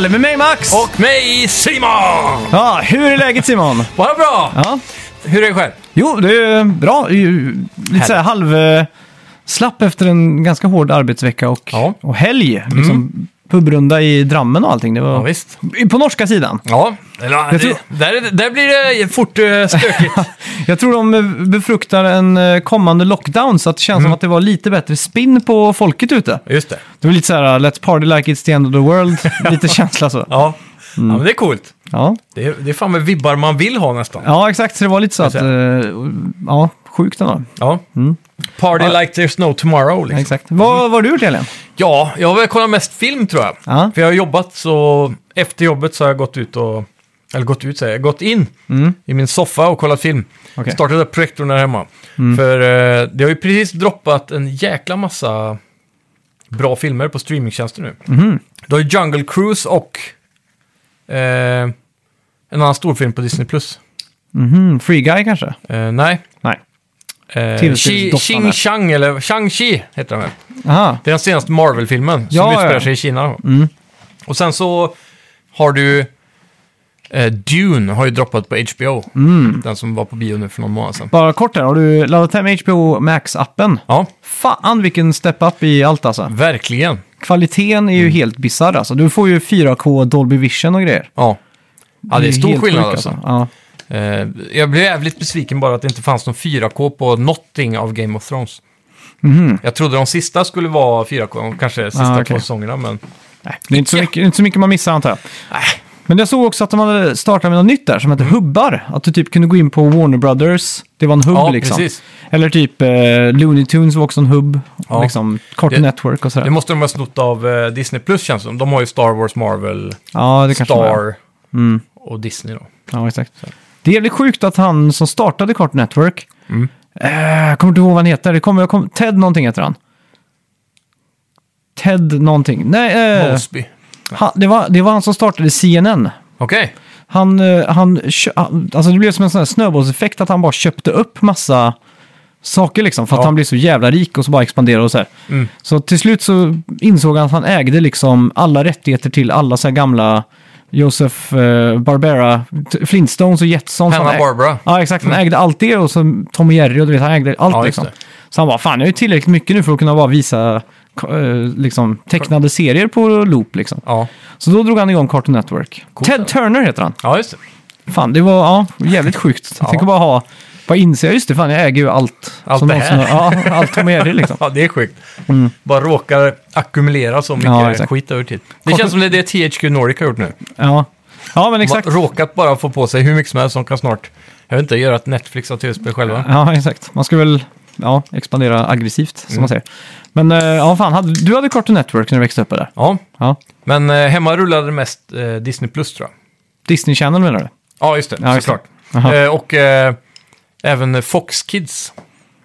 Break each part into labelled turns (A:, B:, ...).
A: Alex!
B: Och mig Simon!
A: Ja, hur är läget Simon?
B: Bara bra!
A: Ja.
B: Hur är det själv?
A: Jo, det är bra. Det är ju Lite så här halv... eh, Slapp efter en ganska hård arbetsvecka och,
B: Ja. Mm.
A: och helg. Liksom pubrunda i Drammen och allting. Det var
B: Ja, visst.
A: På norska sidan.
B: Ja, eller, det,
A: Jag tror-
B: där, är det- där blir det fort eh, stökigt.
A: Jag tror de eh, befruktar en eh, kommande lockdown så att det känns
B: Mm.
A: som att det var lite bättre spinn på folket ute.
B: Just det.
A: Det var lite så här, let's party like it's the end of the world. lite känsla så.
B: Ja, ja men det är coolt.
A: Ja.
B: Det är, det är fan med vibbar man vill ha nästan.
A: ja, exakt. Så det var lite så att... eh, Ja, sjukt ändå.
B: Ja. Party like there's no tomorrow. Liksom.
A: Exakt. Vad, vad har du gjort Elin?
B: Ja, jag har väl kollat mest film tror jag.
A: Ja.
B: För jag har jobbat så efter jobbet så har jag gått ut och, eller gått ut säger jag, gått in i min soffa och kollat film.
A: mm, Okej.
B: Startat upp projektorn där hemma.
A: Mm.
B: För eh, det har ju precis droppat en jäkla massa bra filmer på streamingtjänster nu.
A: Mhm.
B: Du har ju Jungle Cruise och eh, en annan storfilm på Disney+. Plus.
A: Mhm, Free Guy kanske?
B: Eh, nej.
A: Nej.
B: Eh, Chi-
A: Tillsynsdoftan där.
B: Ching Chang, eller Shang-Chi heter den väl?
A: Aha.
B: Det är den senaste Marvel-filmen som
A: Ja,
B: utspelar
A: ja.
B: sig i Kina.
A: Mm.
B: Och sen så har du eh, Dune har ju droppat på HBO.
A: Mm.
B: Den som var på bio nu för någon månad sedan.
A: Bara kort här, har du laddat hem HBO Max-appen?
B: Ja,
A: Fan vilken step-up i allt alltså.
B: verkligen.
A: Kvaliteten är
B: Mm.
A: ju helt bisarr alltså. Du får ju 4K Dolby Vision och grejer.
B: Ja, ja det är stor
A: helt
B: skillnad
A: sjukt,
B: alltså.
A: Ja.
B: Eh, jag blev jävligt besviken bara att det inte fanns någon 4K på någonting av Game of Thrones.
A: Mhm.
B: Jag trodde de sista skulle vara 4K, kanske de sista
A: Ah,
B: två
A: okej.
B: säsongerna, men
A: Nej, det är inte så,
B: Ja.
A: mycket, det är inte så mycket man missar antar jag.
B: nej. Mm.
A: Men jag såg också att de hade startat med något nytt där som heter hubbar. Att du typ kunde gå in på Warner Brothers, det var en hubb
B: Ja,
A: liksom.
B: precis.
A: Eller typ eh, Looney Tunes var också en hubb.
B: Ja.
A: Liksom, kort
B: Det-
A: network och sådär.
B: Det måste de ha snott av eh, Disney Plus känns det som. De har ju Star Wars, Marvel,
A: ja, det kanske de har.
B: Star
A: Mm.
B: och Disney då.
A: Ja, exakt. Det är jävligt sjukt att han som startade Cart Network,
B: Mm.
A: eh, jag kommer inte ihåg vad han heter, det kommer, jag kommer, Ted någonting heter han. Ted någonting. Nej, eh,
B: Mosby.
A: han, det, var, det var han som startade CNN.
B: Okej.
A: Han, eh, han, kö- han, alltså det blev som en sån här snöbollseffekt att han bara köpte upp massa saker liksom. För att
B: Ja.
A: han blev så jävla rik och så bara expanderade och så här.
B: Mm.
A: Så till slut så insåg han att han ägde liksom alla rättigheter till alla så här gamla Josef eh, Barbera, t- Flintstones och Jetsons. Han
B: Hanna
A: äg-
B: Barbara. Mm.
A: Ja, exakt. Han ägde allt det och så Tom och Jerry och du vet, han ägde allt
B: Ja, just
A: liksom.
B: det.
A: Så han bara, fan jag är ju tillräckligt mycket nu för att kunna bara visa eh, liksom, tecknade serier på loop liksom.
B: Ja.
A: Så då drog han igång Cartoon Network.
B: Coolt,
A: Ted
B: eller?
A: Turner heter han.
B: ja, just det.
A: Fan, det var ja, jävligt sjukt.
B: Ja.
A: Tänk att bara ha... Bara inse, ja, just det, fan jag äger ju allt.
B: Allt det
A: någonsin
B: här.
A: har- Ja, allt Tom och Jerry liksom.
B: Ja, det är sjukt. Bara råkar ackumulera så mycket
A: Mm. Ja, exakt.
B: skit över tid. Det
A: Kort-
B: känns som det är det THQ Nordic har gjort nu.
A: Ja, ja men exakt.
B: Exakt. Råkat bara få på sig hur mycket som helst som kan snart, jag vet inte, göra ett Netflix av tv-spel själva.
A: Ja, exakt. Man ska väl ja, expandera aggressivt,
B: Mm.
A: som man säger. Men eh, ja, fan, hade, du hade Cartoon Network när du växte upp där.
B: Ja,
A: Ja.
B: men eh, hemma rullade det mest eh, Disney Plus tror jag.
A: Disney Channel menar du?
B: Ja, just det,
A: Ja, just det.
B: såklart.
A: Aha.
B: Eh, och eh, även Fox Kids,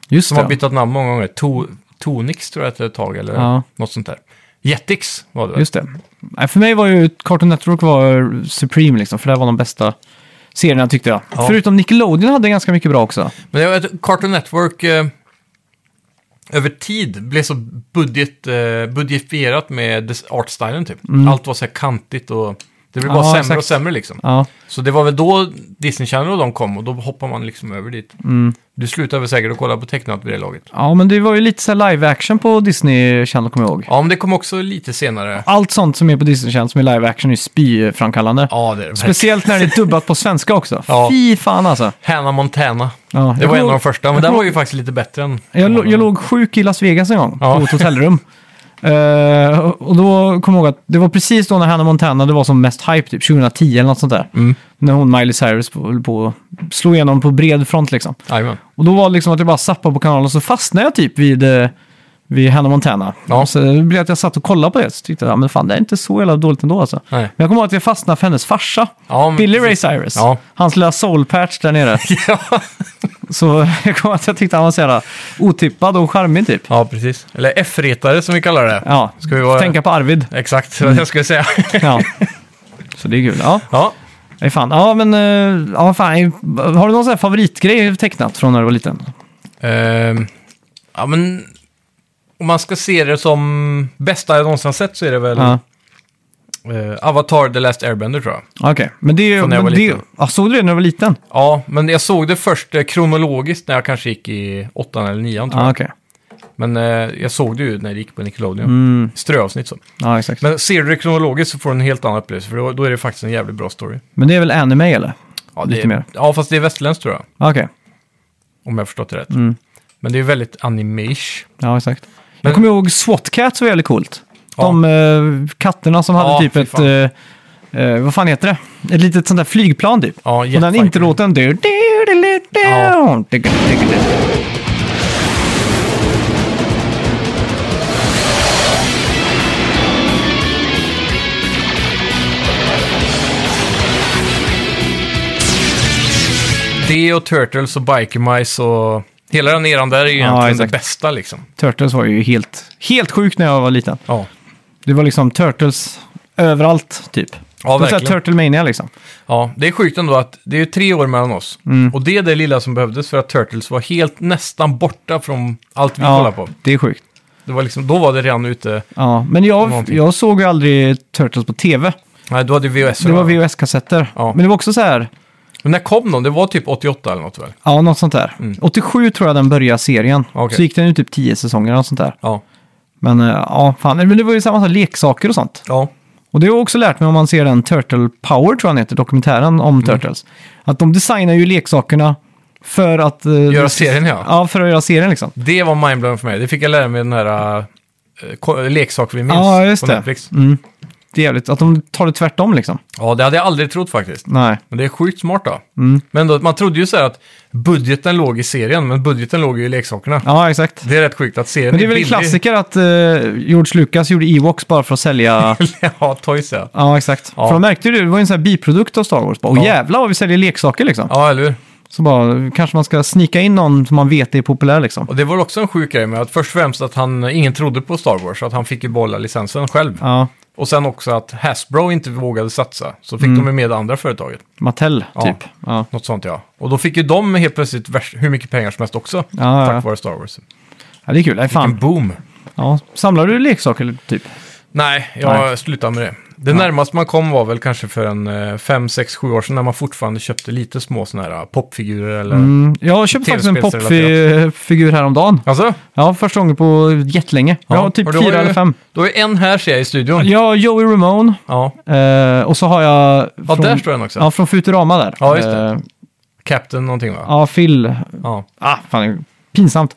A: Just
B: som
A: det.
B: har bytt namn många gånger. To Tonix tror jag att det är ett tag, eller
A: Ja.
B: något sånt där. Jetix var det väl?
A: Just det. Nej, för mig var ju Cartoon Network var Supreme, liksom, för det här var de bästa serierna tyckte jag.
B: Ja.
A: Förutom Nickelodeon hade ganska mycket bra också.
B: Men jag vet, Cartoon Network eh, över tid blev så budget, eh, budgeterat med des- artstylen typ. Allt var så här kantigt och det blev
A: Mm.
B: bara
A: Ja,
B: sämre
A: exakt.
B: och sämre liksom.
A: Ja,
B: Så det var väl då Disney Channel och de kom och då hoppar man liksom över dit.
A: Mm.
B: Du slutar väl säkert att kolla på tecknat vid det laget.
A: ja men det var ju lite så här live action på Disney Channel, kommer jag ihåg.
B: Ja, men det kom också lite senare.
A: Allt sånt som är på Disney Channel som är live action är spyframkallande.
B: Ja, det är det.
A: Speciellt när det är dubbat på svenska också.
B: Ja.
A: Fy fan alltså.
B: Hannah Montana.
A: Ja,
B: Det
A: jag
B: var en av
A: låg-
B: de första, men
A: jag
B: den
A: låg-
B: var ju faktiskt lite bättre än...
A: Jag, lå- jag låg sjuk i Las Vegas en gång
B: Ja.
A: på ett hotellrum. Eh, och då kom jag ihåg att det var precis då när Hannah Montana det var som mest hype, typ 2010 eller något sånt där.
B: Mm.
A: När hon Miley Cyrus höll på att slå igenom på bred front liksom.
B: Jajamän.
A: Och då var det liksom att jag bara zappade på kanalen och så fastnade jag typ vid, eh, vid Hannah Montana.
B: Ja.
A: Så det blev att jag satt och kollade på det så tyckte jag, ja, men fan det är inte så jävla dåligt ändå alltså.
B: Nej.
A: Men jag kommer ihåg att jag fastnade för hennes farsa,
B: Ja, men
A: Billy Ray Cyrus.
B: Ja.
A: Hans lilla soul patch där nere.
B: ja.
A: så jag kommer ihåg att jag tyckte han var så jävla otippad och charmig typ.
B: ja, precis. Eller F-retare som vi kallar det.
A: Ja, Mm.
B: Ska vi vara-
A: tänka på Arvid.
B: Exakt, det var det jag skulle säga.
A: Ja. Så det är kul. Ja,
B: ja.
A: nej, fan. Ja, men, eh, ja, fan. Har du någon sån här favoritgrej tecknat från när du var liten?
B: Ehm, ja, men om man ska se det som bästa jag någonsin har sett så är det väl
A: Ja.
B: Eh, Avatar The Last Airbender tror jag.
A: Okej, men det är ju...
B: Från när jag
A: men
B: var
A: det-
B: liten.
A: Ja, såg du det när du var liten?
B: Ja, men jag såg det först eh, kronologiskt när jag kanske gick i åttan eller nian tror
A: Ja,
B: jag.
A: Mm. okej.
B: Men eh, jag såg det ju när det gick på Nickelodeon. Ströavsnitt så.
A: Ja, exakt. Men,
B: Men ser du det kronologiskt så får du en helt annan upplevelse, för då, då är det faktiskt en jävligt bra story.
A: det är väl anime eller?
B: Ja, det
A: Lite
B: är,
A: mer.
B: Ja, fast det är västerländskt tror jag,
A: Okej,
B: om jag har förstått det rätt.
A: Mm.
B: Men det är väldigt animeish.
A: ja exakt.
B: Men-
A: Jag kommer ihåg SWAT Cats var jävligt coolt.
B: Ja.
A: De eh, katterna som
B: Ja,
A: hade typ
B: fy
A: ett...
B: fan.
A: eh, eh, vad fan heter det? Ett litet sånt där flygplan typ.
B: Ja,
A: Och den
B: Jetfighter.
A: introlåten... du- du- du- du- du-
B: Ja.
A: du- du- du- du-
B: Det och Turtles och Biker Mice och hela den eran där är ju
A: Ja,
B: egentligen det
A: exakt.
B: bästa liksom.
A: Turtles var ju helt, helt sjuk när jag var liten.
B: Ja,
A: Det var liksom Turtles överallt typ.
B: ja
A: det var
B: verkligen.
A: såhär Turtle Mania liksom.
B: Ja, det är sjukt ändå att det är ju tre år mellan oss.
A: Mm.
B: Och det är det lilla som behövdes för att Turtles var helt nästan borta från allt vi kollade på.
A: det är sjukt.
B: Det var liksom, då var det redan ute.
A: Ja, men jag,
B: Någonting.
A: jag såg ju aldrig Turtles på tv.
B: Nej, då hade vi VHS.
A: Det var VHS-kassetter.
B: Ja.
A: Men det var också så här,
B: Men när kom de? Det var typ 88 eller något väl?
A: ja, något sånt där. 87 tror jag den började serien.
B: Mm. Okej.
A: Så gick den ju typ 10 säsonger och sånt där.
B: Ja.
A: Men eh, ja, fan. Men det var ju samma sak, leksaker och sånt.
B: Ja.
A: Och det har jag också lärt mig om man ser den Turtle Power, tror jag den heter, dokumentären om
B: Mm.
A: Turtles. Att de designar ju leksakerna för att... eh,
B: Göra serien, ja.
A: Ja, för att göra serien liksom.
B: Det var mindblowing för mig. Det fick jag lära mig den här eh, ko- leksak vi minns
A: Ja, just
B: på
A: det.
B: Netflix.
A: Mm. Det är jävligt, att de tar det tvärtom liksom.
B: Ja, det hade jag aldrig trott faktiskt.
A: Nej.
B: Men det är sjukt smart då.
A: Mm.
B: Men då, man trodde ju så här att budgeten låg i serien, men budgeten låg ju i leksakerna.
A: Ja, exakt.
B: Det är rätt sjukt att serien
A: Men det är väl en
B: billig.
A: klassiker att eh, George Lucas gjorde Ewoks bara för att sälja...
B: ja, toys ja.
A: ja, exakt.
B: Ja.
A: För de märkte ju det, det var ju en sån här biprodukt av Star Wars. Bara, Åh
B: Ja.
A: jävlar vad vi säljer leksaker liksom.
B: Ja, eller hur?
A: Så bara, kanske man ska snika in någon som man vet är populär liksom.
B: Och det var också en sjuk grej med att först och främst att han, ingen trodde på Star Wars, så att han fick ju behålla licensen själv.
A: Ja,
B: Och sen också att Hasbro inte vågade satsa, så
A: Mm.
B: fick de ju med det andra företaget.
A: Mattel
B: Ja.
A: typ. Ja.
B: Något sånt ja. Och då fick ju de helt plötsligt vers- hur mycket pengar som helst också,
A: Ja,
B: tack
A: ja.
B: vare Star Wars.
A: ja, det är kul. Nej, fan.
B: En boom.
A: Ja, samlar du leksaker typ?
B: Nej, jag
A: Nej.
B: slutade med det. Det närmaste man kom var väl kanske för en eh, 5, 6, 7 år sedan när man fortfarande köpte lite små sådana här eh, popfigurer eller...
A: Mm, jag köpte faktiskt en
B: Tv-spelsrelaterat.
A: popfigur häromdagen.
B: Alltså?
A: Ja, första gången på jättelänge. Jag har typ
B: och du har
A: fyra
B: ju-
A: eller fem.
B: Du har ju en här ser jag i studion. Ja.
A: Jag har Joey Ramone
B: ja.
A: eh, och så har jag...
B: Ja, där står den också.
A: Ja, från Futurama där.
B: Ja, just det.
A: Eh,
B: Captain någonting va?
A: ja, Phil.
B: Ja.
A: Ah, fan, pinsamt.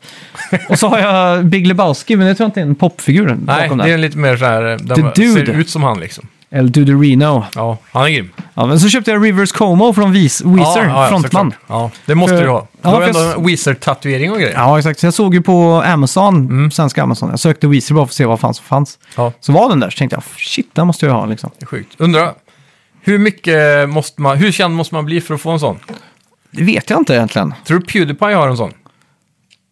A: och så har jag Big Lebowski, men det tror jag inte är en popfigur
B: Nej,
A: bakom
B: det är
A: där.
B: en lite mer så här, eh, den
A: The
B: ser
A: Dude.
B: ut som han liksom.
A: Eller Dudorino.
B: Ja, han är grym.
A: Ja, men så köpte jag Rivers Cuomo från Weez- Weezer, frontman.
B: såklart. Ja, det måste
A: För-
B: du ha. Du
A: Ja,
B: har
A: för
B: ändå
A: jag-
B: en Weezer-tatuering och grejer.
A: Ja, exakt. Så jag såg ju på Amazon, svenska Amazon. Jag sökte Weezer bara för att se vad fan som fanns.
B: Ja.
A: Så var den där, så tänkte jag, shit, den måste jag ha liksom.
B: Det är sjukt. Undrar, hur mycket måste man, hur känd måste man bli för att få en sån?
A: Det vet jag inte egentligen.
B: Tror du Pewdiepie har en sån?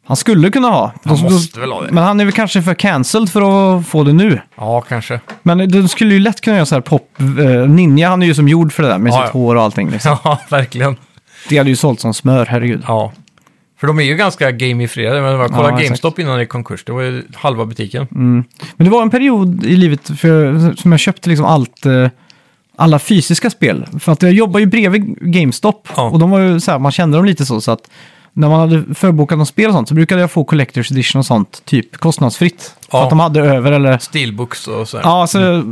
A: Han skulle kunna ha.
B: Han måste väl ha det.
A: Men han är väl kanske för cancelled för att få det nu.
B: Ja, kanske.
A: Men de skulle ju lätt kunna göra så här pop... eh, ninja, han är ju som gjord för det där med
B: Ja,
A: sitt
B: ja.
A: hår och allting. Liksom.
B: Ja, verkligen.
A: Det hade ju sålt som smör, herregud.
B: Ja. För de är ju ganska gamifierade. Men jag kollade
A: Ja, exakt. Mm.
B: GameStop innan det gick konkurs. Det var ju halva butiken.
A: Men det var en period i livet för, som jag köpte liksom allt... eh, alla fysiska spel. För att jag jobbar ju bredvid GameStop.
B: Ja.
A: Och de var ju så här, man kände dem lite så. Så att när man hade förbokat något spel och sånt så brukade jag få Collectors Edition och sånt typ kostnadsfritt. För
B: Ja. Mm.
A: att de hade över eller...
B: Steelbooks och sådär.
A: Ja, så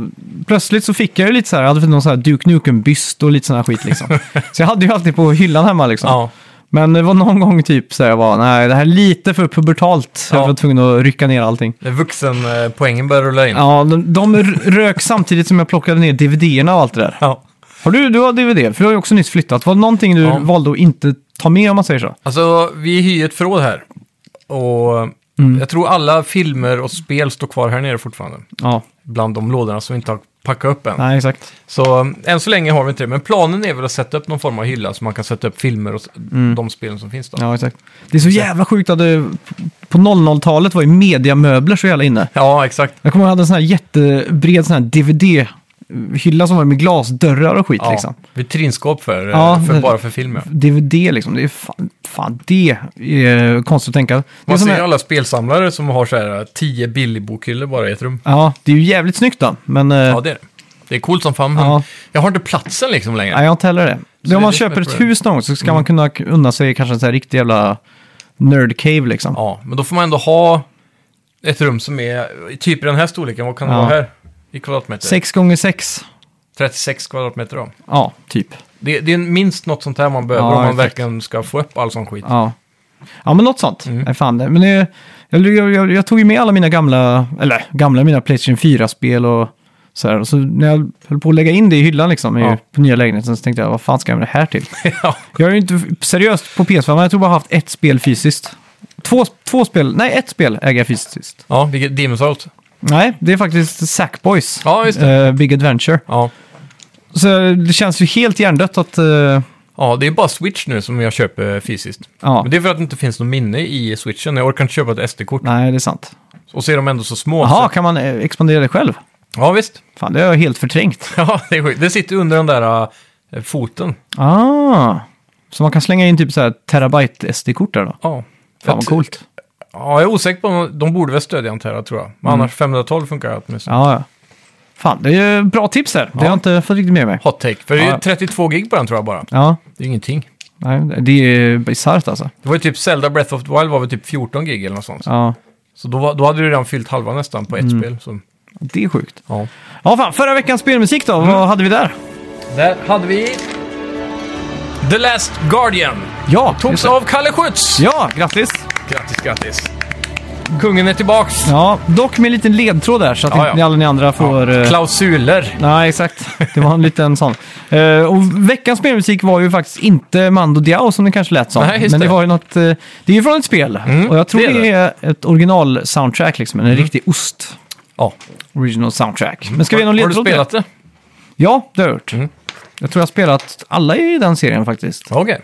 A: plötsligt så fick jag ju lite så här, jag hade fått någon så här Duke Nukem-byst och lite sån här skit liksom. så jag hade ju alltid på hyllan hemma liksom.
B: Ja.
A: Men det var någon gång typ så här, jag var, nej det här är lite för pubertalt. Så jag
B: Ja.
A: var tvungen att rycka ner allting.
B: När vuxenpoängen börjar rulla in.
A: Ja, de, de r- rök samtidigt som jag plockade ner DVD-erna och allt det där.
B: Ja.
A: Har du, du har DVD, för du har ju också nyss flyttat. Var det någonting du
B: Ja.
A: valde att inte ta med om man säger så?
B: Alltså, vi hyr ett förråd här. Och
A: Mm.
B: jag tror alla filmer och spel står kvar här nere fortfarande.
A: Ja,
B: Bland de lådorna som vi inte har packat upp än.
A: nej exakt.
B: Så um, än så länge har vi inte det. Men planen är väl att sätta upp någon form av hylla så man kan sätta upp filmer och s- de spelen som finns då.
A: Mm. Ja, exakt. Det är så jävla sjukt att det, på 00-talet var ju mediamöbler så jävla inne.
B: Ja, exakt.
A: Jag kommer ihåg att jag hade en sån här jättebred sån här DVD-hylla som var med glasdörrar och skit
B: Ja.
A: liksom.
B: Vitrinskåp för, eh,
A: Ja,
B: för
A: det-
B: bara för film, ja.
A: DVD liksom, det är fan, fan det är konstigt att tänka. Det är
B: Man
A: som
B: ser
A: en-
B: ju alla spelsamlare som har så här eh, tio billigbokhyllor bara i ett rum.
A: Ja, det är ju jävligt snyggt då, men eh,
B: Ja, det är det. Det är coolt som fan, men
A: Ja.
B: jag har inte platsen liksom längre.
A: Nej, jag har inte heller det.
B: det
A: om
B: är
A: man
B: det som är
A: köper ett
B: problemet. Mm.
A: hus någon gång så ska man kunna k- unna sig kanske en sån här riktig jävla nerd cave liksom.
B: Ja, men då får man ändå ha ett rum som är i typ i den här storleken. Vad kan det
A: Ja.
B: vara här? I kvadratmeter?
A: Sex gånger sex.
B: 36 kvadratmeter då.
A: Ja, typ.
B: Det, det är minst något sånt här man behöver
A: Ja,
B: om man
A: exakt.
B: verkligen ska få upp all sån skit.
A: Ja. Ja, men något sånt.
B: Mm.
A: Nej, fan det. Men det, jag, jag, jag, jag tog ju med alla mina gamla, eller gamla, mina Playstation 4-spel och så här. Och så när jag höll på att lägga in det i hyllan liksom,
B: Ja.
A: i, på nya lägenheten, så tänkte jag, vad fan ska jag med det här till?
B: Ja.
A: Jag är ju inte seriöst på PS5, men jag tror bara haft ett spel fysiskt. Två, två spel, nej ett spel äger jag fysiskt.
B: Ja, vilket Demon's Out.
A: Nej, det är faktiskt Sackboys.
B: Ja, just det.
A: Eh, Big Adventure.
B: Ja.
A: Så det känns ju helt hjärndött att... eh,
B: ja, det är bara Switch nu som jag köper fysiskt.
A: ja,
B: Men det är för att det inte finns något minne i Switchen. Jag orkar inte köpa ett SD-kort.
A: nej det är sant.
B: Och så är de ändå så små.
A: Jaha,
B: Så...
A: kan man eh, expandera det själv?
B: Ja, visst.
A: Fan, det har jag helt förträngt.
B: Ja, det är sjukt. Det sitter under den där äh, foten.
A: Ah, så man kan slänga in typ så här terabyte SD-kort där då?
B: Ja.
A: Fan vad coolt.
B: Ja, jag är osäker på om de borde väl stödja Antera tror jag. Men annars 512 funkar åtminstone.
A: Ja, ja. Fan, det är ju bra tips här. Det har jag inte fått riktigt med mig.
B: Hot take. För det är
A: Ja.
B: ju 32 gig på den tror jag bara.
A: Ja,
B: Det är ingenting.
A: nej, det är bisarrt alltså.
B: Det var ju typ Zelda Breath of the Wild var väl typ 14 gig eller något sånt.
A: Ja,
B: Så då, var- då hade du redan fyllt halva nästan på ett spel. Så,
A: det är sjukt.
B: Mm. ja.
A: Ja, fan, förra veckans spelmusik då? Vad hade vi där?
B: Där hade vi The Last Guardian.
A: Ja,
B: Togs av Kalle Schütz.
A: Ja, grattis!
B: Grattis, grattis. Kungen är tillbaks.
A: Ja, dock med en liten ledtråd där så att
B: Ja,
A: inte
B: ja.
A: ni alla ni andra får... eh,
B: Klausuler.
A: Nej, exakt. Det var en liten sån. Eh, och veckans spelmusik var ju faktiskt inte Mando Diao som det kanske lät som.
B: Nej, just
A: men det
B: det. Mm,
A: var ju något... eh, det är ju från ett spel. och jag tror
B: det Mm.
A: det
B: är
A: är, ett original-soundtrack, liksom. En riktig ost.
B: Ja.
A: Original soundtrack. Men ska vi ge någon
B: Mm. Har du
A: ledtråd? till
B: spelat det?
A: det? Ja, det har jag gjort.
B: Mm.
A: Jag tror jag har spelat alla i den serien faktiskt.
B: Okej.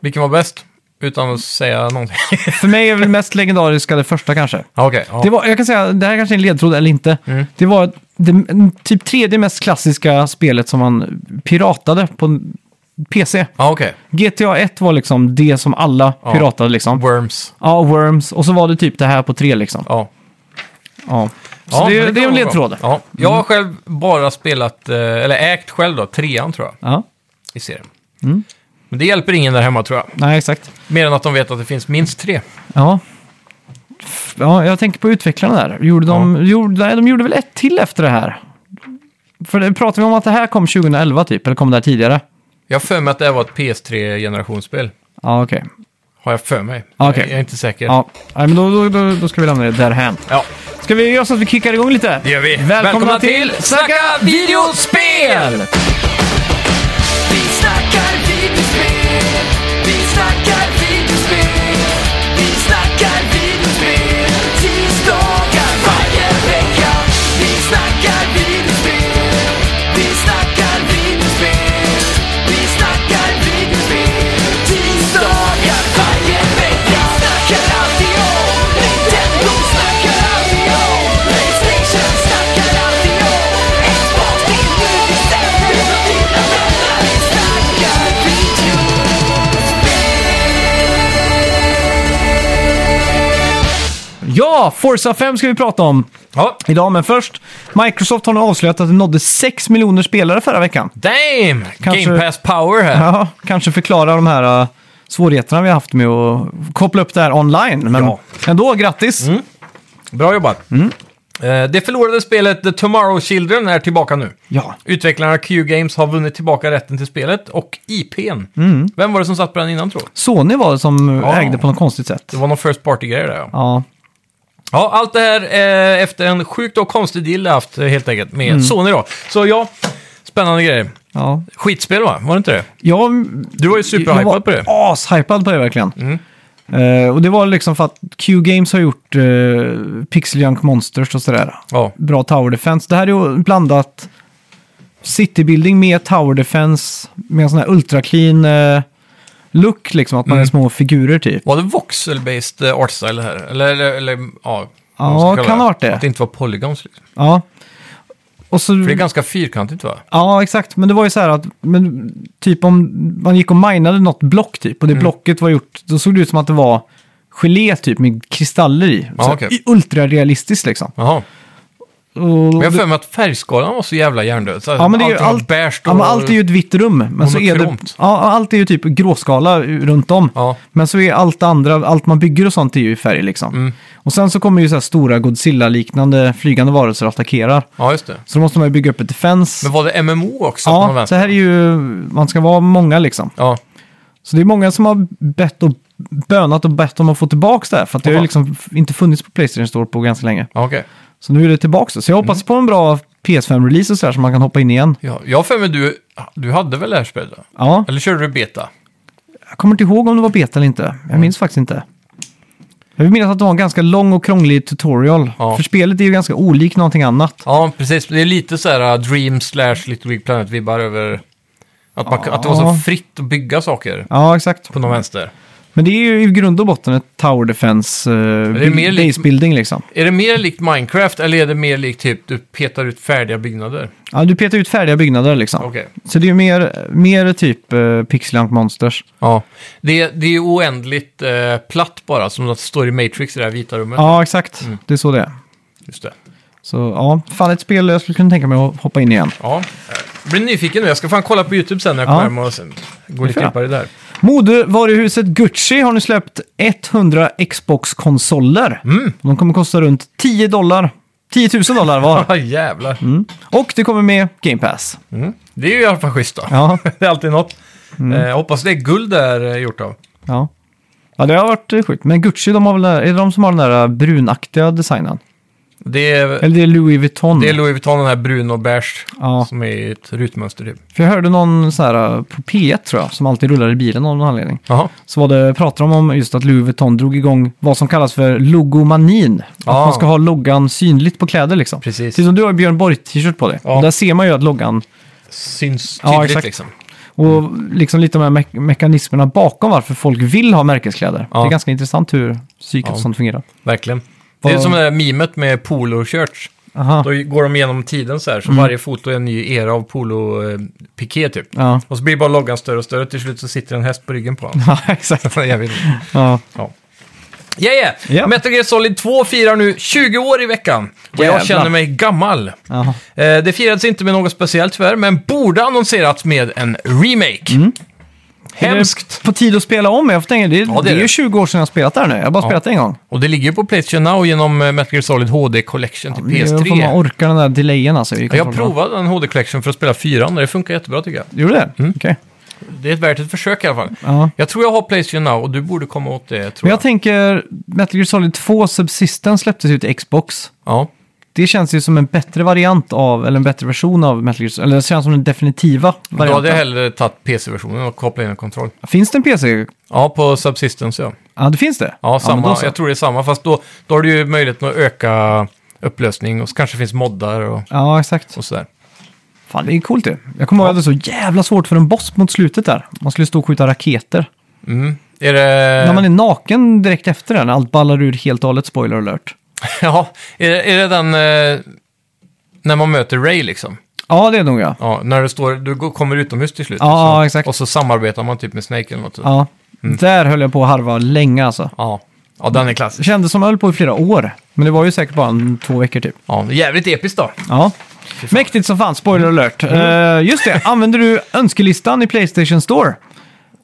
B: Vilken var bäst? Utan att säga någonting.
A: För mig är väl mest legendariska det första kanske.
B: Ja, Okej. ja.
A: Det var, jag kan säga, det här kanske är en ledtråd eller inte.
B: Mm.
A: Det var det typ tredje mest klassiska spelet som man piratade på en PC.
B: Ja, okej.
A: GTA 1 var liksom det som alla
B: Ja.
A: piratade liksom.
B: Worms.
A: Ja, Worms. Och så var det typ det här på tre liksom.
B: Ja.
A: Ja. Så
B: Ja,
A: det,
B: men
A: det, är en
B: kan vara
A: ledtråd. Mm.
B: bra. Ja. Jag har själv bara spelat, eh, eller ägt själv då, trean tror jag,
A: Ja.
B: i serien.
A: Mm.
B: Men det hjälper ingen där hemma tror jag.
A: Nej, exakt.
B: Mer än att de vet att det finns minst tre.
A: Ja. F- ja, jag tänker på utvecklarna där. Gjorde de, gjorde, nej, de gjorde väl ett till efter det här? För det pratade vi om att det här kom 2011 typ, eller kom det här tidigare?
B: Jag har för mig att det här var ett PS3-generationsspel.
A: Ja, okej.
B: Har jag för mig.
A: Okej.
B: Jag är inte säker.
A: Ja, nej, men då, då, då, då ska vi lämna det därhän.
B: Ja,
A: Ska vi göra så att vi kickar igång lite?
B: det gör vi.
A: Välkomna, till
B: Snacka videospel!
C: Vi snackar videospel, vi snackar videospel, vi snackar videospel, tisdagar varje vecka. Vi snackar videospel, vi snackar videospel, vi snackar videospel, tisdagar varje vecka. Vi snackar alltid om Nintendo, snackar alltid om Playstation, snackar alltid om Xbox, det är nu vi sätter oss och tittar på det. Vi snackar videospel.
A: Ja, Forza 5 ska vi prata om
B: Ja.
A: idag, men först. Microsoft har nu avslöjat att de nådde 6 miljoner spelare förra veckan.
B: Damn!
A: Kanske-
B: Game Pass Power här.
A: Ja, kanske förklara de här äh, svårigheterna vi har haft med att koppla upp det här online. Men
B: Ja. Mm.
A: ändå, grattis!
B: Bra jobbat.
A: Mm.
B: Eh, Det förlorade spelet The Tomorrow Children är tillbaka nu.
A: Ja.
B: Utvecklarna Q Games har vunnit tillbaka rätten till spelet och IPn.
A: Mm.
B: Vem var det som satt på den innan tror jag?
A: Sony var det som
B: Ja.
A: ägde på något konstigt sätt.
B: Det var någon First Party-grej där ja.
A: Ja,
B: Ja, allt det här eh, efter en sjukt och konstig deal jag haft eh, helt enkelt med
A: Mm.
B: Sony då. Så ja, spännande grejer.
A: ja.
B: Skitspel va? Var det inte det?
A: Jag,
B: Du var ju superhypad
A: jag var
B: på det. Mm.
A: Ashypad på det verkligen. Eh, och det var liksom för att Q-Games har gjort uh, Pixel Junk Monsters och sådär.
B: Ja,
A: bra tower defense. Det här är ju blandat citybuilding med tower defense med en sån här ultra clean eh, look, liksom att man
B: Mm.
A: är små figurer typ.
B: var det voxel-based eh, artstyle här? Eller, eller, eller ja. vad
A: Ja,
B: man ska kalla
A: kan ha varit det.
B: Att det inte var polygons liksom.
A: Ja. Och så,
B: För det är ganska fyrkantigt va?
A: ja, exakt. Men det var ju så här att, men, typ om man gick och minade något block typ, och
B: Mm.
A: det blocket var gjort, då såg det ut som att det var gelé typ med kristaller i.
B: Ja,
A: Så
B: okej.
A: i- Ultrarealistiskt liksom.
B: Jaha.
A: Och
B: Men jag har för mig att färgskalan var så jävla hjärndöd. Så
A: Ja, men det är ju
B: allt var
A: allt-
B: beige
A: Ja, men allt är ju ett vitt rum. Men så är det,
B: monokromt.
A: ja, allt är ju typ gråskala runt om.
B: Ja.
A: Men så är allt det andra, allt man bygger och sånt är ju i färg liksom.
B: Mm.
A: Och sen så kommer ju så här stora Godzilla-liknande flygande varelser och attackerar.
B: ja, just det.
A: Så då måste man ju bygga upp ett defens.
B: Men var det MMO också? att man
A: Ja,
B: vänt-
A: så här är ju, man ska vara många liksom.
B: ja.
A: Så det är många som har bett och bönat och bett om att få tillbaka det här. För att det har ju
B: Jaha.
A: liksom inte funnits på Playstation Store på ganska länge.
B: ja okej.
A: Så nu är det tillbaka. Så jag hoppas
B: Mm.
A: på en bra PS5-release och så här så man kan hoppa in igen.
B: Ja, jag har för mig du, du hade väl det här spelet? va?
A: Ja,
B: Eller körde du beta?
A: jag kommer inte ihåg om det var beta eller inte. Jag minns faktiskt inte. Jag vill minnas att det var en ganska lång och krånglig tutorial.
B: Ja.
A: För spelet är ju ganska olikt någonting annat.
B: Ja, precis. Det är lite så här uh, Dream slash Little Big Planet-vibbar över att, man,
A: Ja.
B: att det var så fritt att bygga saker
A: Ja, exakt.
B: på någon vänster.
A: Men det är ju i grund och botten ett Tower Defense uh,
B: det är mer likt-
A: base building liksom.
B: Är det mer likt Minecraft eller är det mer likt typ du petar ut färdiga byggnader?
A: Ja, du petar ut färdiga byggnader liksom.
B: Okej.
A: Så det är ju mer, mer typ uh, Pixelant Monsters.
B: Ja. Det, det är oändligt eh, platt bara, som att det står i Matrix i det här vita rummet.
A: Ja, exakt.
B: Mm.
A: Det är så det är.
B: Just det.
A: Så ja, fan ett spel jag skulle kunna tänka mig att hoppa in igen.
B: Ja. Jag blir nyfiken nu. Jag ska fan kolla på YouTube sen när jag
A: Ja.
B: kommer hem och sen gå lite
A: Ja.
B: djupare där.
A: Modevaruhuset Gucci har nu släppt 100 Xbox-konsoler.
B: Mm.
A: De kommer kosta runt 10 dollar. 10 000 dollar var.
B: Ja, jävlar.
A: Mm. Och det kommer med Game Pass.
B: Mm. Det är ju i alla fall schysst då.
A: Ja, Mm.
B: Det är alltid något. Eh, jag hoppas det är guld där eh, gjort av.
A: ja. ja det har varit eh, sjukt. Men Gucci, de har väl, är det de som har den där äh, brunaktiga designen?
B: Det är,
A: Eller det är Louis Vuitton.
B: det är Louis Vuitton, den här brun och beige,
A: Ja.
B: som är i ett rutmönster typ.
A: För jag hörde någon så här eh, på P1 tror jag, som alltid rullar i bilen av någon anledning.
B: Jaha.
A: så var det, pratade de om just att Louis Vuitton drog igång vad som kallas för logomanin. Att
B: Ah.
A: man ska ha loggan synligt på kläder liksom.
B: Precis.
A: Precis som du har ju Björn Borg-t-shirt på dig.
B: Ja.
A: Och Där ser man ju att loggan
B: Syns
A: Ja,
B: tydligt
A: exakt.
B: liksom.
A: och liksom lite de här me- mekanismerna bakom varför folk vill ha märkeskläder.
B: Ja.
A: Det är ganska intressant hur psyket
B: Ja.
A: och sånt fungerar.
B: Verkligen. Det är
A: Vad-
B: som det där memet med polo-shirts.
A: Aha.
B: Då går de igenom tiden så här, så
A: Mm.
B: varje foto är en ny era av polo-piké typ.
A: Ja.
B: Och så blir bara loggan större och större, till slut så sitter en häst på ryggen på honom.
A: ja, exakt.
B: Jag vet inte.
A: Ja.
B: Yeah, yeah.
A: Ja.
B: Metal Gear Solid 2 firar nu 20 år i veckan. Och jag
A: Jävlar.
B: känner mig gammal.
A: Ja.
B: Eh, Det firades inte med något speciellt tyvärr, men borde annonserats med en remake. Hemskt.
A: Mm. Är det På tid att spela om. Jag får tänka, det, är,
B: Ja,
A: det, är ju 20 år sedan jag spelat där nu. Jag har bara spelat det en gång.
B: Och det ligger ju på Playstation Now genom eh, Metal Gear Solid HD Collection till
A: Nu får man
B: PS3.
A: orka den där delayen alltså. i
B: Ja, Jag
A: kontrollerna.
B: provade den HD Collection för att spela 4 och det funkar jättebra tycker jag.
A: Gjorde det?
B: Mm.
A: Okej.
B: Det är ett värt ett försök i alla fall.
A: Ja.
B: Jag tror jag har Playstation Now och du borde komma åt det tror
A: Men
B: jag.
A: jag tänker, Metal Gear Solid 2 Subsistence släpptes ju till Xbox.
B: Ja.
A: Det känns ju som en bättre variant av, eller en bättre version av Metal Gear Solid. Eller det känns som den definitiva
B: Då hade
A: varianten.
B: jag hellre tagit PC-versionen och kopplat in en kontroll.
A: Finns det en PC?
B: Ja, på Subsistence ja.
A: Ja, det finns det.
B: Ja, samma.
A: men då så.
B: jag tror det är samma, fast då, då har du ju möjligheten att öka upplösning och så kanske det finns moddar och,
A: Ja, exakt.
B: och sådär.
A: Fan, det är coolt ju. Jag kommer ihåg att det var så jävla svårt för en boss mot slutet där. Man skulle stå och skjuta raketer.
B: Mm. Är det...
A: När man är naken direkt efter den, allt ballar ur helt och hållet, spoiler alert.
B: Ja, är, det- är det den eh, när man möter Ray liksom?
A: Ja, det är nog jag.
B: Ja, när du, står, du går- kommer utomhus till slut.
A: Ja,
B: och så,
A: ja, exakt.
B: Och så samarbetar man typ med Snake eller något. Ja.
A: Ja.
B: Mm.
A: Där höll jag på att harva länge alltså.
B: Ja. den är
A: Det
B: klassisk.
A: kändes som jag höll på i flera år. Men det var ju säkert bara en, två veckor typ.
B: Ja, jävligt episkt då.
A: Ja. Mäktigt som fan, spoiler alert. Eh, just det, använder du önskelistan i Playstation Store? Nej,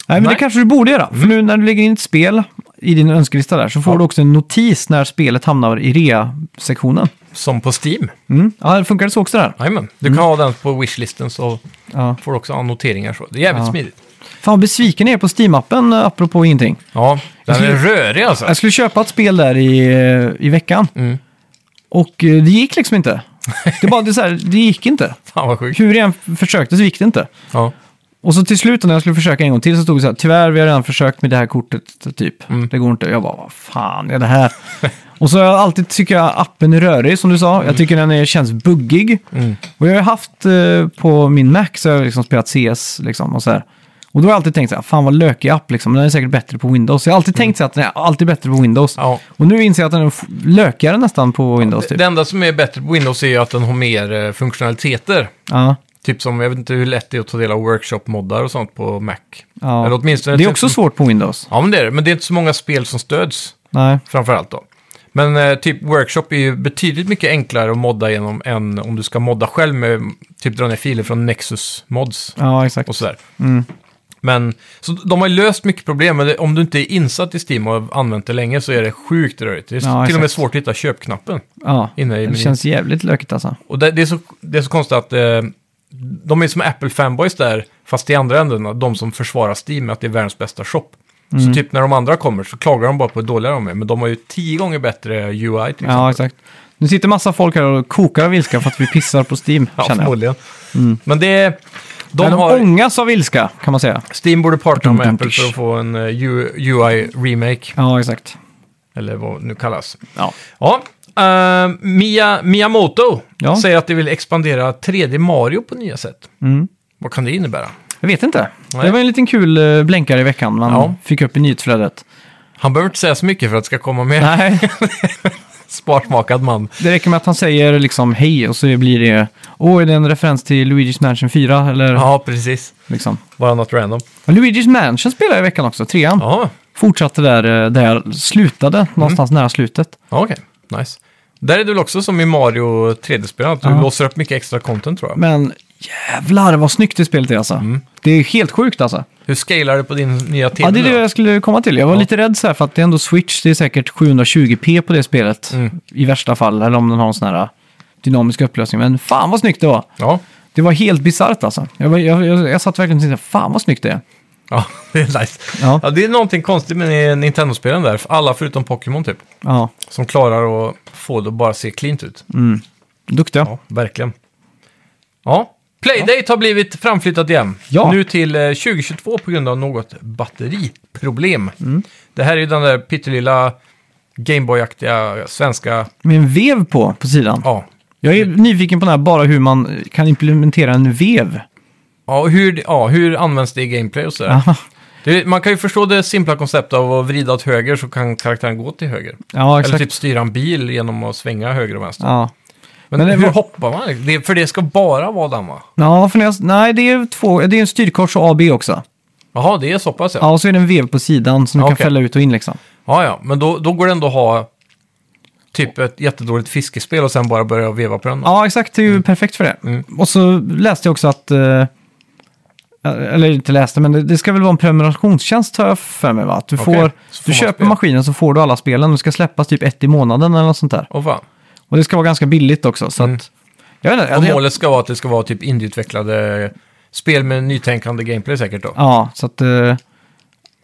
A: men
B: Nej.
A: det kanske du borde göra. För nu när du lägger in ett spel i din önskelista där så får
B: Ja.
A: du också en notis när spelet hamnar i rea-sektionen.
B: Som på Steam.
A: Mm. Ja, det funkar det så också där?
B: Jajamän. Du kan ha den på wishlisten så
A: Ja.
B: får du också annoteringar. Så. Det är jävligt
A: Ja.
B: smidigt.
A: Fan vad besviken jag är på Steam-appen eh, apropå ingenting.
B: Ja, den är
A: skulle-
B: rörig alltså.
A: Jag skulle köpa ett spel där i, eh, i veckan.
B: Mm.
A: Och eh, det gick liksom inte. Det, bara, det, är så här, det gick inte.
B: Fan vad sjukt.
A: Hur jag än försökte så gick det inte.
B: Ja.
A: Och så till slut när jag skulle försöka en gång till så stod det så här, tyvärr vi har redan försökt med det här kortet typ.
B: Mm.
A: Det går inte. Jag bara, vad fan är det här? och så har jag alltid tycker jag appen är rörig som du sa. Jag tycker den är, känns buggig.
B: Mm.
A: Och jag har ju haft eh, på min Mac så har jag liksom spelat CS liksom och så här. Och då har jag alltid tänkt så här, fan vad lökig app liksom, den är säkert bättre på Windows. Jag har alltid tänkt så här att den är alltid bättre på Windows.
B: Mm. Ja.
A: Och nu inser jag att den är f- lökigare nästan på Windows
B: Det,
A: typ.
B: det enda som är bättre på Windows är ju att den har mer eh, funktionaliteter.
A: Ja,
B: Typ som, jag vet inte hur lätt det är att ta del av workshop-moddar och sånt på Mac. Eller
A: ja.
B: åtminstone... typ-
A: Det är också svårt på Windows.
B: Ja, men det är det. Men det är inte så många spel som stöds,
A: Nej.
B: framför allt då. Men eh, typ workshop är ju betydligt mycket enklare att modda genom än om du ska modda själv med typ dra ner filer från Nexus Mods
A: Ja, exakt.
B: och sådär.
A: Mm.
B: Men, så de har ju löst mycket problem, men det, om du inte är insatt i Steam och har använt det länge så är det sjukt rörigt. Det är
A: Ja,
B: till och med
A: exakt.
B: svårt att hitta köpknappen
A: Ja,
B: inne i
A: det
B: menyn.
A: känns jävligt lökigt alltså.
B: Och det, det, är så, det är så konstigt att eh, de är som Apple-fanboys där, fast i andra änden, de som försvarar Steam att det är världens bästa shop.
A: Mm.
B: Så typ när de andra kommer så klagar de bara på hur dåliga de är, men de har ju tio gånger bättre UI till exempel.
A: Ja, exakt. Nu sitter massa folk här och kokar av ilska för att vi pissar på Steam,
B: Ja,
A: känner jag. Mm.
B: förmodligen. Men det är... De
A: Men de
B: har...
A: ångas av ilska, kan man säga.
B: Steam borde partnera
A: Dum,
B: med
A: dum,
B: Apple för
A: dusch.
B: att få en eh, U- UI-remake,
A: Ja, exakt.
B: eller vad det nu kallas.
A: Ja.
B: Ja, eh, Mia, Miyamoto
A: Ja.
B: säger att de vill expandera 3D Mario på nya sätt.
A: Mm.
B: Vad kan det innebära?
A: Jag vet inte.
B: Nej.
A: Det var en liten kul eh, blänkare i veckan man
B: Ja.
A: fick upp i nyhetsflödet.
B: Han behöver inte säga så mycket för att det ska komma med.
A: Nej,
B: Sparsmakad man.
A: det räcker med att han säger liksom hej och så blir det... Åh, är det en referens till Luigi's Mansion 4? Eller
B: Ja, precis.
A: liksom.
B: Bara något random.
A: Men Luigi's Mansion spelade jag i veckan också, trean.
B: Ja, Mm.
A: Fortsatte där, eh, där jag slutade, någonstans nära slutet.
B: ja, okej. Nice. Där är det väl också som i Mario 3D-spelet, du
A: Ja.
B: låser upp mycket extra content tror jag.
A: Men jävlar vad snyggt det spelet är alltså.
B: Mm.
A: Det är helt sjukt alltså.
B: Hur scalar du på din nya TV?
A: Ja, det är det
B: då?
A: jag skulle komma till. Jag var
B: Ja.
A: lite rädd så här för att det är ändå Switch, det är säkert 720p på det spelet
B: Mm.
A: i värsta fall, eller om den har en sån här äh, dynamisk upplösning. Men fan vad snyggt det var!
B: Ja.
A: Det var helt bisarrt alltså. Jag, var, jag, jag, jag satt verkligen och tänkte, fan vad snyggt det är.
B: Ja, det är nice. Ja.
A: Ja.
B: det är någonting konstigt med Nintendo-spelen där. Alla förutom Pokémon typ.
A: Ja,
B: Som klarar att få det att bara se cleant ut.
A: duktiga.
B: Ja, verkligen. Ja, Playdate har blivit framflyttat igen.
A: Ja.
B: Nu till eh, 2022 på grund av något batteriproblem.
A: Mm.
B: Det här är ju den där pyttelilla Gameboy-aktiga svenska...
A: Med en vev på, på sidan.
B: Ja.
A: Jag är nyfiken på den här, bara hur man kan implementera en vev.
B: Ja, och hur, ja, hur används det i gameplay och sådär?
A: Aha.
B: Det, man kan ju förstå det simpla konceptet av att vrida åt höger så kan karaktären gå till höger.
A: Ja, exakt.
B: Eller typ styra en bil genom att svänga höger och vänster.
A: Ja.
B: Men,
A: Men det
B: hur
A: var-
B: hoppar man? Det, för det ska bara vara den va?
A: Ja, för när jag, nej, det är, två, det är en styrkors och AB också.
B: Jaha, det är så pass ja.
A: Ja, och så är det en vev på sidan som du
B: Ja,
A: kan
B: okej.
A: fälla ut och in liksom.
B: Ja, ja, men då, då går det ändå att ha typ ett jättedåligt fiskespel och sen bara börja veva på den.
A: Ja, exakt. Det är ju perfekt för det.
B: Mm.
A: Och så läste jag också att... Eh, eller inte läste, men det, det ska väl vara en prenumerationstjänst har jag för mig va? Att du,
B: Okej,
A: får,
B: så får
A: du
B: man
A: köper
B: spel.
A: maskinen så får du alla spelen. Det ska släppas typ ett i månaden eller något sånt där.
B: Och fan.
A: Och det ska vara ganska billigt också. Så att, jag vet inte,
B: Och
A: jag-
B: Mm. målet ska vara att det ska vara typ indieutvecklade spel med nytänkande gameplay säkert då.
A: Ja, så att... Eh,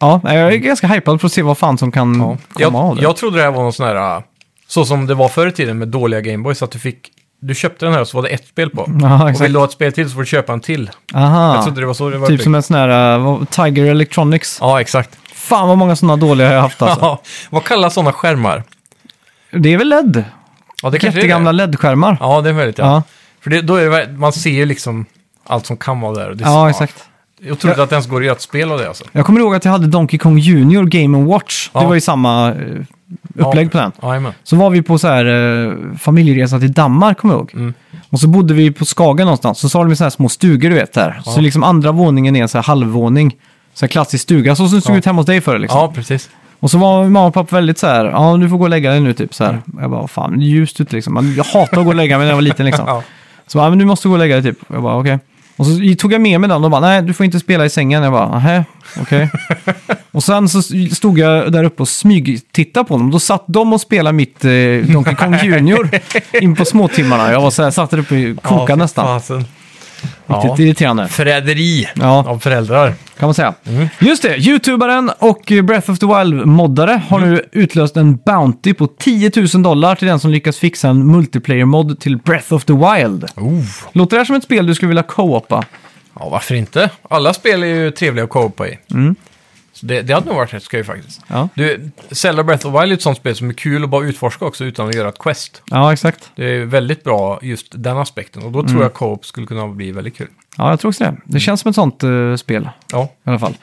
A: ja, jag är ganska hypad för att se vad fan som kan komma av
B: Jag,
A: det.
B: jag trodde det här var någon sån här, äh, så som det var förr i tiden med dåliga Gameboys, att du fick, du köpte den här och så var det ett spel på.
A: Ja,
B: och vill
A: exakt.
B: du ha ett spel till så får du köpa en till.
A: Aha.
B: Jag trodde det var så det var
A: Typ
B: uppbyggt.
A: som en sån här eh, vad- Tiger Electronics.
B: Ja, exakt.
A: Fan vad många sådana dåliga jag har haft alltså.
B: Ja, vad kallas sådana skärmar?
A: Det är väl LED?
B: Ja, det kanske är det.
A: Jättegamla LED-skärmar.
B: Ja, det är möjligt. Ja.
A: Ja.
B: För det, då är det, ver- man ser ju liksom allt som kan vara där. Och det,
A: ja, exakt.
B: Jag otroligt att det ens går att göra ett spel av det alltså.
A: Jag kommer ihåg att jag hade Donkey Kong Junior Game Watch.
B: Ja.
A: Det var ju samma eh, upplägg på den.
B: Jajamän.
A: Så var vi på så här, eh, familjeresa till Danmark, kommer jag ihåg.
B: Mm.
A: Och så bodde vi på Skagen någonstans. Så, så har de så här små stugor, du vet, där. Så liksom andra våningen är en så här halvvåning. Så här klassisk stuga, så som det såg
B: Ja.
A: ut hemma hos dig förr liksom.
B: Ja, precis.
A: Och så var mamma och pappa väldigt så här, ja du får gå och lägga dig nu typ så här.
B: Mm.
A: Jag bara, "Vad fan, det är ljust ute liksom. Man- Jag hatar att gå och lägga mig när jag var liten liksom.
B: Ja.
A: Så bara, "Ja, men du måste gå och lägga dig typ. Jag bara, okej. Och så tog jag med mig den och de bara, nej du får inte spela i sängen. Jag bara, nähä, okej. och sen så stod jag där uppe och smygtittade på dem. Då satt de och spelade mitt eh, Donkey Kong Junior in på småtimmarna. Jag var så här, satt där uppe och kokade
B: Ja, fy
A: nästan.
B: fasen.
A: Riktigt
B: Ja.
A: irriterande,
B: Förräderi
A: Ja.
B: av föräldrar.
A: kan man säga. Just det, YouTubaren och eh, Breath of the Wild-moddare har nu utlöst en Bounty på 10 000 dollar till den som lyckas fixa en multiplayer-mod till Breath of the Wild.
B: Oh.
A: Låter det här som ett spel du skulle vilja co-opa?
B: Ja, varför inte? Alla spel är ju trevliga att co-opa i.
A: Mm.
B: Så det, det hade nog varit rätt skoj faktiskt.
A: Ja.
B: Du, Zelda Breath of the Wild är ett sånt spel som är kul att bara utforska också utan att göra ett quest.
A: Ja, exakt.
B: Det är väldigt bra just den aspekten och då
A: Mm.
B: tror jag co-op skulle kunna bli väldigt kul.
A: Ja, jag tror också det. Det känns som ett sånt eh, spel
B: Ja,
A: i alla fall.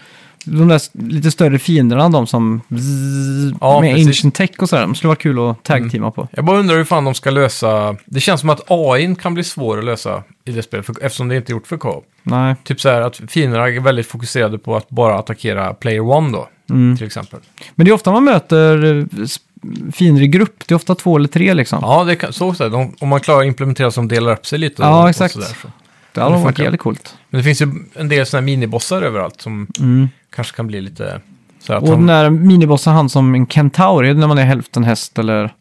A: De där s- lite större fienderna, de som bzzz,
B: Ja,
A: med
B: precis. Mm.
A: ancient tech och sådär, de skulle vara kul att tag-teama på.
B: Jag bara undrar hur fan de ska lösa... Det känns som att AI kan bli svår att lösa i det spelet, för, eftersom det inte är gjort för co-op.
A: Nej,
B: Typ så här att fienderna är väldigt
A: Mm.
B: fokuserade på att bara attackera player one då, till exempel.
A: men det är ofta man möter eh, s- finare grupp. Det är ofta två eller tre liksom.
B: Ja, det kan, så, så här, de, om man klarar att implementera så de delar upp sig lite.
A: Ja,
B: och,
A: exakt.
B: Och så där, så.
A: det hade
B: det
A: varit
B: funkar.
A: jävligt coolt.
B: Men det finns ju en del sådana här minibossar överallt som kanske kan bli lite... Så här, att
A: Mm. Och den
B: han,
A: där minibossen han som en kentaur, är det när man är hälften häst eller?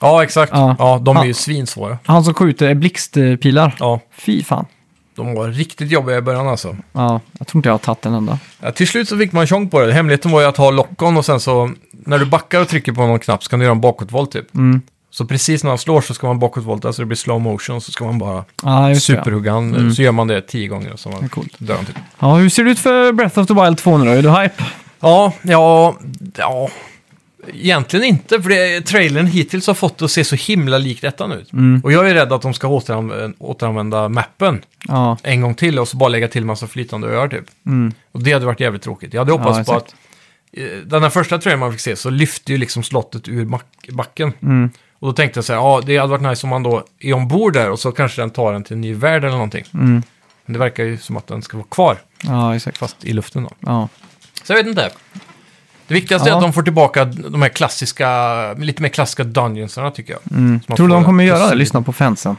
B: ja, exakt.
A: Ja.
B: Ja, de är
A: Ja.
B: ju svinsvåra.
A: Han som skjuter är blixtpilar.
B: Ja,
A: Fy fan.
B: de var riktigt jobbiga i början alltså.
A: Ja, jag tror inte jag har tagit en enda.
B: Ja, till slut så fick man tjong på det. Hemligheten var ju att ha lock-on och sen så när du backar och trycker på någon knapp så kan du göra en bakåtvolt typ.
A: Mm.
B: Så precis när han slår så ska man bakåtvolta så det blir slow motion så ska man bara
A: Ja, just det, ja.
B: superhugga han. Så gör man det tio gånger och så
A: Det är
B: man
A: coolt.
B: dör han typ.
A: Ja, hur ser det ut för Breath of the Wild 2 nu då? Är du hype?
B: Ja, ja, ja. Egentligen inte, för det, trailern hittills har fått det att se så himla likt ettan ut.
A: Mm.
B: Och jag är rädd att de ska återanv- återanvända mappen
A: Ja,
B: en gång till och så bara lägga till massa flytande öar typ.
A: mm.
B: Och det hade varit jävligt tråkigt. Jag hade hoppats
A: Ja,
B: på
A: exakt.
B: att eh, den här första trailern man fick se så lyfte ju liksom slottet ur mack- backen.
A: Mm.
B: Och då tänkte jag så här, ja det hade varit nice om man då är ombord där och så kanske den tar en till en ny värld eller någonting.
A: Mm.
B: Men det verkar ju som att den ska vara kvar,
A: ja exakt.
B: fast i luften då.
A: Ja.
B: Så jag vet inte. Det viktigaste
A: Ja.
B: är att de får tillbaka de här klassiska, lite mer klassiska dungeonsarna tycker jag.
A: Mm.
B: Så man
A: Tror du
B: får
A: de kommer
B: ett
A: göra det?
B: syn.
A: Lyssna på fansen.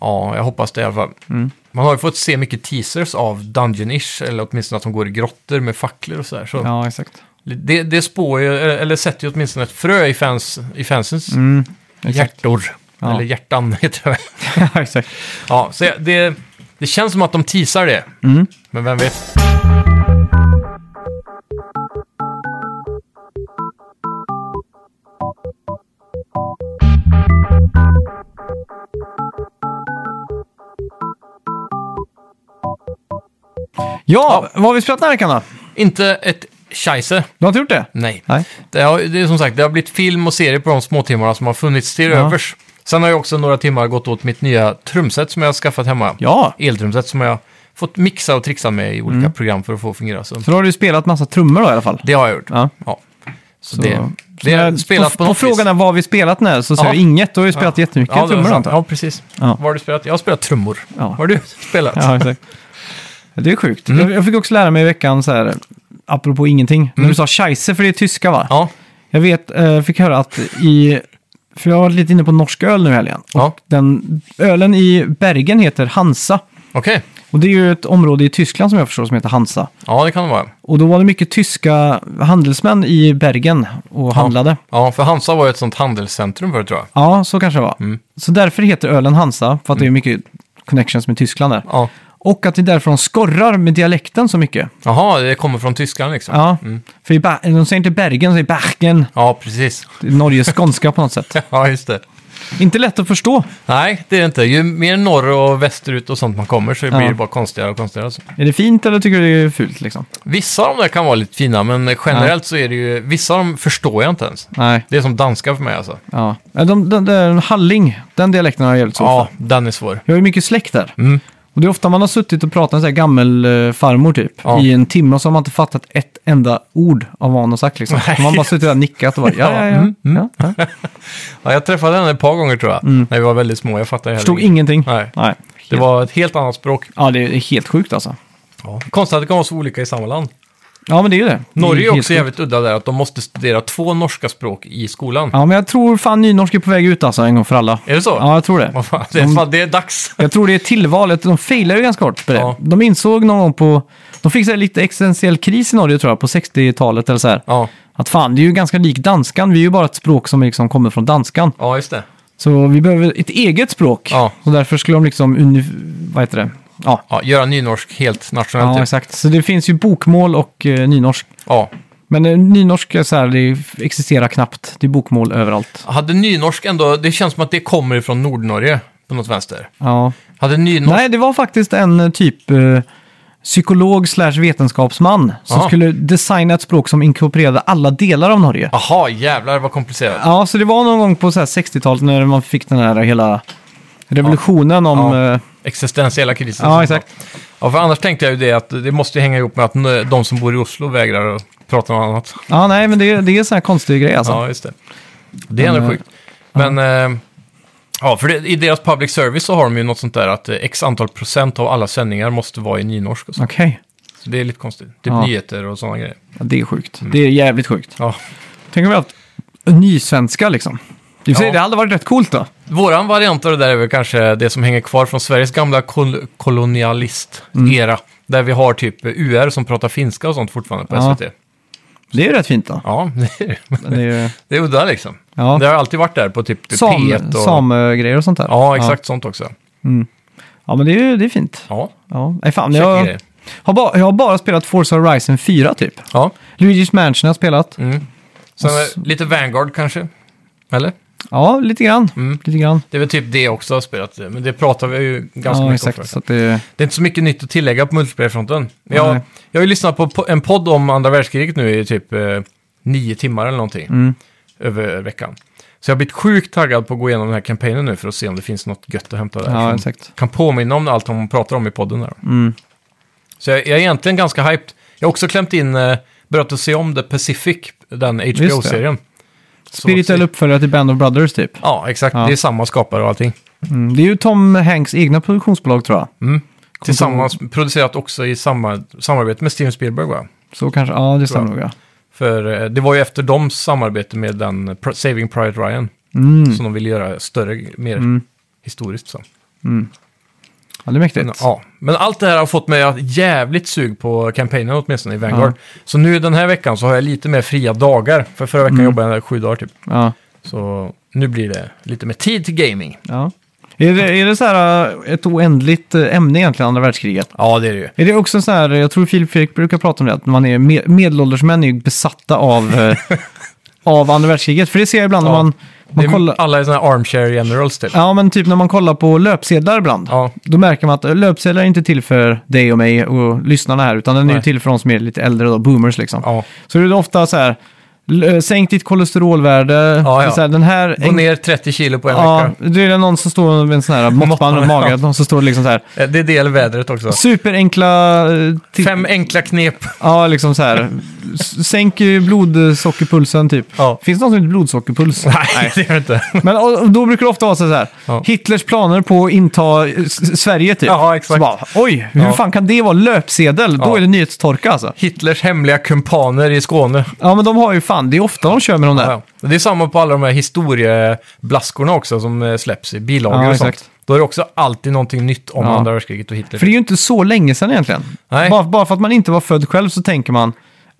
B: Ja, jag hoppas det i alla fall.
A: Mm.
B: Man har ju fått se mycket teasers av Dungeon-ish, eller åtminstone att de går i grottor med facklor och sådär. Så
A: Ja, exakt.
B: det, det spår ju, eh, eller eller sätter ju åtminstone ett frö i, fans, i fansens
A: Mm. Exakt.
B: hjärtor.
A: Ja.
B: Eller hjärtan heter det väl.
A: Ja, exakt.
B: Ja, så jag- det, det känns som att de teasar det.
A: Mm.
B: Men vem vet?
A: Ja, vad har vi spelat den här veckan då?
B: Inte ett scheisse.
A: Du har inte gjort det?
B: Nej.
A: Nej.
B: Det, har, det är som sagt, det har blivit film och serie på de små timmarna som har funnits till övers. Sen har jag också några timmar gått åt mitt nya trumset som jag har skaffat hemma.
A: Ja.
B: Eltrumset som jag fått mixa och trixa med i olika
A: Mm.
B: program för att få fungera. Så
A: Så då har du ju spelat massa trummor då i alla fall.
B: det har jag gjort.
A: Ja.
B: Ja. Så,
A: Så-
B: det, det
A: Så
B: har
A: när-
B: jag spelat på,
A: på,
B: något
A: frågan
B: vis.
A: är vad har vi spelat nu så säger
B: Ja.
A: du inget. Du har ju spelat jättemycket
B: Ja, det var
A: trummor
B: sant.
A: antar jag.
B: Ja, precis.
A: Ja.
B: Vad har du spelat? Jag har spelat trummor.
A: Ja.
B: Vad har du spelat?
A: Ja, exakt. Det är sjukt.
B: Mm.
A: Jag, jag fick också lära mig i veckan så här, apropå ingenting, när du sa scheisse för det är tyska va?
B: Ja.
A: Jag vet, eh, fick höra att i, för jag var lite inne på norsk öl nu i helgen.
B: Ja.
A: Den ölen i Bergen heter Hansa.
B: Okej.
A: Och det är ju ett område i Tyskland som jag förstår som heter Hansa.
B: Ja, det kan det vara.
A: Och då var det mycket tyska handelsmän i Bergen och handlade.
B: Ja, för Hansa var ju ett sånt handelscentrum förut tror jag.
A: Ja, så kanske det var.
B: Mm.
A: Så därför heter ölen Hansa, för att det är mycket connections med Tyskland där.
B: Ja.
A: Och att det är därför de skorrar med dialekten så mycket.
B: Jaha, det kommer från tyskan liksom.
A: Ja, för i Ba- de säger inte Bergen, de säger Bergen.
B: ja precis.
A: Det är Norges skånska på något sätt.
B: ja, just det.
A: Inte lätt att förstå.
B: Nej, det är det inte. Ju mer norr och västerut och sånt man kommer så blir
A: Ja.
B: det bara konstigare och konstigare. alltså.
A: Är det fint eller tycker du det är fult liksom?
B: Vissa av de där kan vara lite fina, men generellt så är det ju... Vissa av dem förstår jag inte ens.
A: Nej,
B: Det är som danska för mig alltså.
A: ja. Nej, De, de, de, Halling, den dialekten har jag jävligt svårt
B: Ja,
A: för.
B: den är svår.
A: Jag har ju mycket släkt där.
B: Mm.
A: Och det är ofta man har suttit och pratat med så här gammel eh, farmor typ
B: Ja.
A: i en timme och så har man inte fattat ett enda ord av vad hon har sagt liksom.
B: Nej.
A: Man har bara suttit där och nickat och bara ja, ja, ja.
B: Mm,
A: ja, ja.
B: Ja, jag träffade henne ett par gånger tror jag, när vi var väldigt små. Jag fattade heller
A: Mm. Förstod
B: inget.
A: ingenting.
B: Nej.
A: Nej.
B: Det var ett helt annat språk.
A: Ja, det är helt sjukt alltså.
B: Konstigt att det kan vara så olika i samma land.
A: Ja, men det är ju det. Det
B: Norge är
A: Mm, helt
B: också
A: sjukt.
B: jävligt udda där, att de måste studera två norska språk i skolan.
A: Ja, men jag tror fan nynorsk är på väg ut alltså en gång för alla.
B: Är det så?
A: Ja, jag tror det.
B: Vad fan, det, är, fan, det är dags.
A: Jag tror det är tillvalet. De failar ju ganska hårt på det.
B: Ja.
A: De insåg någon gång på... De fick så här lite existentiell kris i Norge tror jag, på 60-talet eller så här.
B: Ja,
A: Att fan, det är ju ganska lik danskan. Vi är ju bara ett språk som liksom kommer från danskan.
B: ja just det.
A: Så vi behöver ett eget språk.
B: Ja.
A: Så därför skulle de liksom... Uni... Vad heter det? Ja.
B: Ja, göra nynorsk helt nationellt.
A: ja,
B: typ.
A: exakt. Så det finns ju bokmål och eh, nynorsk.
B: ja.
A: Men eh, nynorsk är så här, det existerar knappt. Det är bokmål överallt.
B: Hade nynorsk ändå, det känns som att det kommer ifrån Nordnorge på något vänster.
A: Ja.
B: Hade nynorsk...
A: Nej, det var faktiskt en eh, typ eh, psykolog slash vetenskapsman som
B: Aha.
A: skulle designa ett språk som inkorporerade alla delar av Norge.
B: Jaha, jävlar vad komplicerat.
A: Ja, så det var någon gång på så här 60-talet när man fick den här hela revolutionen om...
B: Ja.
A: eh,
B: Existentiella krisen.
A: Ja, exakt.
B: Ja, för annars tänkte jag ju det att det måste ju hänga ihop med att nö- de som bor i Oslo vägrar att prata om annat.
A: ja nej, men det, det är en sån här konstig grej alltså.
B: Ja, just det. Det är ändå
A: Men, eh,
B: sjukt. Men, eh, ja, för det, i deras public service så har de ju något sånt där att eh, x antal procent av alla sändningar måste vara i nynorsk och så.
A: Okej,
B: så det är lite konstigt. Typ
A: Ja.
B: nyheter och sådana grejer.
A: ja, det är sjukt. Det är jävligt sjukt.
B: Ja,
A: Tänk om vi har haft nysvenska liksom. I och för sig,
B: Ja.
A: det hade varit rätt coolt då.
B: Våran variant av det där är väl kanske det som hänger kvar från Sveriges gamla kol- kolonialist-era.
A: Mm.
B: Där vi har typ UR som pratar finska och sånt fortfarande på
A: Ja.
B: SVT.
A: Det är ju rätt fint då.
B: Ja, det är,
A: Men Det är ju,
B: det är udda liksom.
A: ja.
B: Det har alltid varit där på typ P1
A: Sam,
B: och...
A: samegrejer och sånt där.
B: Ja, exakt sånt också.
A: Ja, ja men det är ju det är fint.
B: Ja,
A: Ja. Nej, fan,
B: check
A: jag,
B: grej.
A: har bara, jag har bara spelat Forza Horizon 4 typ.
B: Ja.
A: Luigi's Mansion har jag spelat.
B: Mm. Sen eh, lite Vanguard kanske? Eller?
A: Ja, lite grann.
B: Mm.
A: Lite grann.
B: Det är väl typ det jag också har spelat, eh, men det pratar vi ju ganska
A: Ja,
B: mycket om
A: exakt.
B: förut.
A: Så att det,
B: Det är inte så mycket nytt att tillägga på multiplayer-fronten. Men Jag,
A: Nej.
B: jag har ju lyssnat på po- en podd om andra världskriget nu i typ eh, nio timmar eller någonting.
A: Mm.
B: Över veckan. Så jag har blivit sjukt taggad på att gå igenom den här kampanjen nu för att se om det finns något gött att hämta där.
A: ja,
B: som
A: exakt.
B: kan påminna om allt hon pratar om i podden där.
A: Mm.
B: Så jag, jag är egentligen ganska hyped. Jag har också klämt in, eh, börjat att se om The Pacific, den
A: det.
B: HBO-serien.
A: Spirituell uppföljare till Band of Brothers typ.
B: Ja, exakt.
A: Ja.
B: Det är samma skapare och allting.
A: Mm. Det är ju Tom Hanks egna produktionsbolag tror jag.
B: Mm. Tillsammans, producerat också i samma, samarbete med Steven Spielberg va?
A: Så kanske, ja det stämmer
B: jag.
A: nog ja.
B: För eh, det var ju efter deras samarbete med den eh, Pr- Saving Private Ryan
A: Mm.
B: som de ville göra större, mer historiskt. Så.
A: ja. Det är mäktigt.
B: Men, ja. Men allt det här har fått mig att jävligt sug på kampanjen åtminstone i Vanguard. Så nu den här veckan så har jag lite mer fria dagar. För förra
A: Mm.
B: veckan jobbade jag sju dagar typ.
A: Ja.
B: Så nu blir det lite mer tid till gaming.
A: Ja. Är det, är det så här äh, ett oändligt äh, ämne egentligen, andra världskriget?
B: Ja, det är det ju.
A: Är det också så här, jag tror Filip Fredrik brukar prata om det, att man är med, medelålders män är ju besatta av, äh, av andra världskriget. För det ser jag ibland
B: Ja.
A: när man,
B: Det
A: man
B: är,
A: kollar...
B: Alla är sådana här armchair generals typ.
A: Ja, men typ när man kollar på löpsedlar ibland.
B: Ja.
A: Då märker man att äh, löpsedlar är inte till för dig och mig och lyssnarna här, utan den är ju
B: Nej.
A: till för de som är lite äldre, då, boomers liksom.
B: ja.
A: Så det är ofta så här, l- äh, sänk ditt kolesterolvärde,
B: Ja, ja.
A: Så här, den här...
B: Gå ner 30 kilo på en
A: Ja,
B: vecka.
A: det är det någon som står med en sån här måttband runt magen, och så står det liksom så här,
B: Eh, Det är del vädret också.
A: Superenkla... eh, ti-
B: Fem enkla knep.
A: Ja, liksom så här. S- Sänk eh, blodsockerpulsen typ.
B: Ja.
A: Finns det någon som heter blodsockerpuls?
B: Nej, det är det inte.
A: Men och, och då brukar det ofta vara så här.
B: Ja.
A: Hitlers planer på att inta eh, s- Sverige typ.
B: Ja, exakt.
A: Så bara, Oj, hur
B: Ja.
A: fan kan det vara löpsedel? Då
B: Ja.
A: är det nyhetstorka alltså.
B: Hitlers hemliga kumpaner i Skåne.
A: Ja, men de har ju fan, det är ofta de kör med de där.
B: Ja. Det är samma på alla de här historieblaskorna också som eh, släpps i bilagor
A: Ja,
B: och sånt.
A: exakt.
B: Då är det också alltid någonting nytt om
A: Ja.
B: andra världskriget och Hitler.
A: För det är ju inte så länge sedan egentligen.
B: Nej.
A: Bara, bara för att man inte var född själv så tänker man,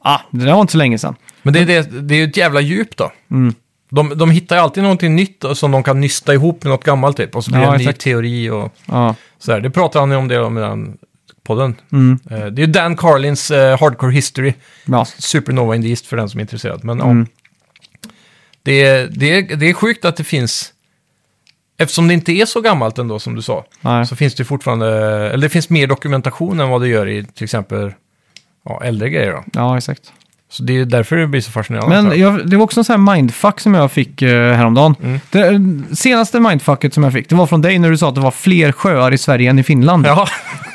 A: ah, det där var inte så länge sedan.
B: Men det är, det, det är ju ett jävla djup då.
A: Mm.
B: De, de hittar ju alltid någonting nytt och som de kan nysta ihop med något gammalt typ. Och så blir
A: Ja,
B: det en ny
A: exakt.
B: teori och
A: Ja,
B: sådär. Det pratar han ju om det om i den podden.
A: Mm.
B: Eh, Det är ju Dan Carlins eh, Hardcore History.
A: ja.
B: Supernova in the East för den som är intresserad. Men
A: alltså, Mm.
B: ja, det, är- det, är- det är sjukt att det finns, eftersom det inte är så gammalt ändå som du sa,
A: Nej.
B: så finns det fortfarande, eller det finns mer dokumentation än vad det gör i till exempel ja, äldre grejer. Då.
A: ja exakt.
B: Så det är därför det blir så fascinerande. antar
A: Men
B: jag...
A: jag, det var också en sån här mindfuck som jag fick eh, häromdagen.
B: Mm.
A: Det eh, senaste mindfucket som jag fick, det var från dig när du sa att det var fler sjöar i Sverige än i Finland.
B: Ja,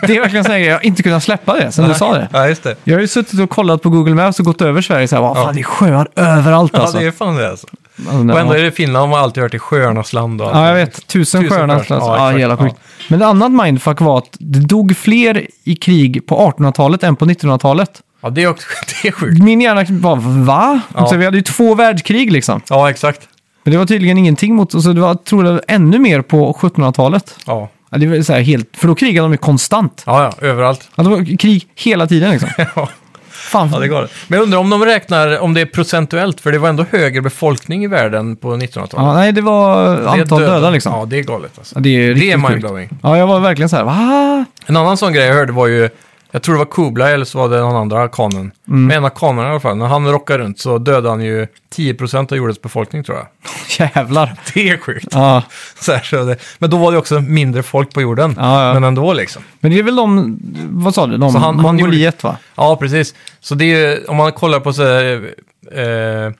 A: Det är verkligen en sån här grej, jag har inte kunnat släppa det sen du sa det.
B: ja, just det.
A: Jag har ju suttit och kollat på Google Maps och gått över Sverige så här, vad
B: Ja.
A: fan det är sjöar överallt
B: Ja,
A: alltså.
B: det är fan det alltså.
A: Alltså, nej,
B: Och ändå
A: ja.
B: är det Finland, man har alltid hört i sjöarnas land och
A: Ja, jag
B: allting.
A: vet. Tusen,
B: Tusen
A: sjöarna.
B: sjöar.
A: Alltså.
B: Ja,
A: Ja,
B: exakt.
A: jävla sjukt.
B: Ja.
A: Men ett annat mindfuck var att det dog fler i krig på 1800-talet än på 1900-talet.
B: Ja, det är, också, det är sjukt.
A: Min hjärna bara, va?
B: Ja.
A: Så vi hade ju två världskrig liksom.
B: Ja, exakt.
A: Men det var tydligen ingenting mot, och så det var, tror jag, ännu mer på 1700-talet.
B: Ja,
A: Ja, det var så här helt, för då krigade de ju konstant.
B: ja, ja överallt.
A: Ja, det var krig hela tiden liksom.
B: Ja.
A: Fan,
B: Ja, det går. Men jag undrar om de räknar, om det är procentuellt, för det var ändå högre befolkning i världen på 1900-talet.
A: ja, nej, det var
B: Det är
A: antal döda, liksom.
B: Ja, det är galet alltså.
A: Ja, det är,
B: Det
A: riktigt
B: är
A: sjukt.
B: mindblowing.
A: Ja, jag var verkligen så här, va?
B: En annan sån grej jag hörde var ju, jag tror det var Kublai eller så var det någon andra arkanen.
A: Mm.
B: Men en av kanerna i alla fall, när han rockar runt så dödade han ju 10% av jordens befolkning tror jag.
A: Jävlar.
B: Det är sjukt.
A: Ja,
B: Så här, så det. Men då var det också mindre folk på jorden.
A: Ja, ja.
B: Men ändå liksom.
A: men det är väl de, vad sa du, de,
B: Så han- han
A: Mongoliet va?
B: Ja, precis. Så det är ju, om man kollar på så här, eh,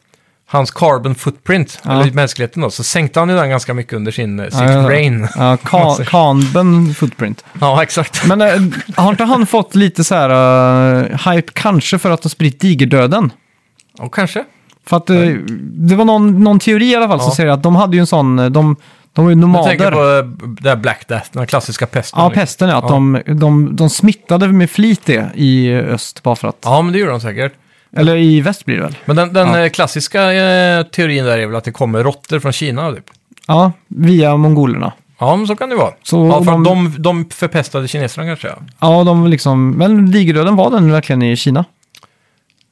B: hans carbon footprint,
A: Ja.
B: eller mänskligheten då, så sänkte han ju den ganska mycket under sin, eh, sitt
A: Ja, ja.
B: reign.
A: Ja, Ka- Kanben footprint.
B: Ja, exakt.
A: Men äh, har inte han fått lite så här eh, hype kanske för att ha spritt digerdöden?
B: Ja, kanske.
A: För att eh, det var någon, någon teori i alla fall som
B: Ja.
A: säger att de hade ju en sån, eh, de, de var ju
B: Jag tänker
A: nomader.
B: på eh, det här Black Death, den här klassiska pesten.
A: Ja,
B: liksom.
A: pesten ja, att
B: Ja.
A: De, de, de smittade med flit det i öst bara för att...
B: Ja, men det gjorde de säkert.
A: Eller i väst blir det väl?
B: Men den, den
A: Ja.
B: eh, klassiska eh, teorin där är väl att det kommer råttor från Kina typ.
A: Ja, via mongolerna.
B: Ja, men så kan det vara.
A: Så
B: ja, för
A: om
B: att
A: de-
B: de, de förpestade kineserna kanske. Ja.
A: Ja, de liksom... Men digerdöden var den verkligen i Kina?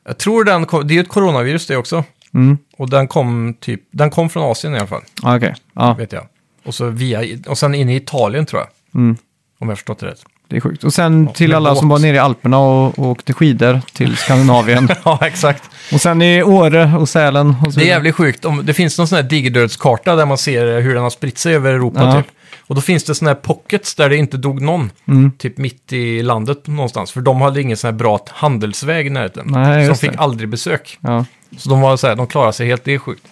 B: Jag tror den kom, det är ju ett coronavirus det också.
A: Mm.
B: Och den kom typ, den kom från Asien i alla fall,
A: Ja, okej. Ja,
B: vet jag. Och, så via, och sen in i Italien tror jag,
A: mm.
B: om jag förstått det rätt.
A: det är sjukt. Och sen
B: Ja,
A: till
B: med
A: alla
B: båt.
A: som var nere i Alperna och, och åkte skidor till Skandinavien.
B: ja, exakt.
A: och sen i Åre och Sälen och så
B: Det är
A: vidare.
B: jävligt sjukt. Om, det finns någon sån här digerdödskarta där man ser hur den har spritt sig över Europa
A: Ja.
B: typ. Och då finns det såna här pockets där det inte dog någon.
A: Mm.
B: Typ mitt i landet någonstans. För de hade ingen sån här bra handelsväg i närheten.
A: Nej,
B: så de
A: just
B: fick
A: det.
B: aldrig besök.
A: Ja.
B: Så de var så här, de klarade sig helt, det är sjukt.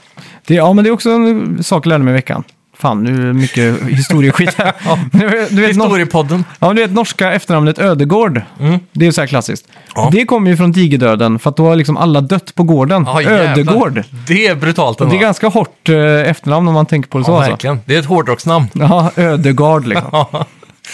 A: Det, ja, men det är också en sak jag lärde mig i veckan. Fan, nu är det mycket historieskit här. du, du vet, nor-
B: Historiepodden.
A: ja, men du vet norska efternamnet Ödegård.
B: Mm.
A: Det är ju så här klassiskt.
B: Ja.
A: Det kommer ju från digerdöden, för att då har liksom alla dött på gården.
B: Ja, jävlar.
A: Ödegård.
B: Det är brutalt
A: Och
B: ändå.
A: det är ganska hårt eh, efternamn om man tänker på det så.
B: ja,
A: Alltså.
B: verkligen. Det är ett hårdrocksnamn.
A: Ja, Ödegard liksom. ja,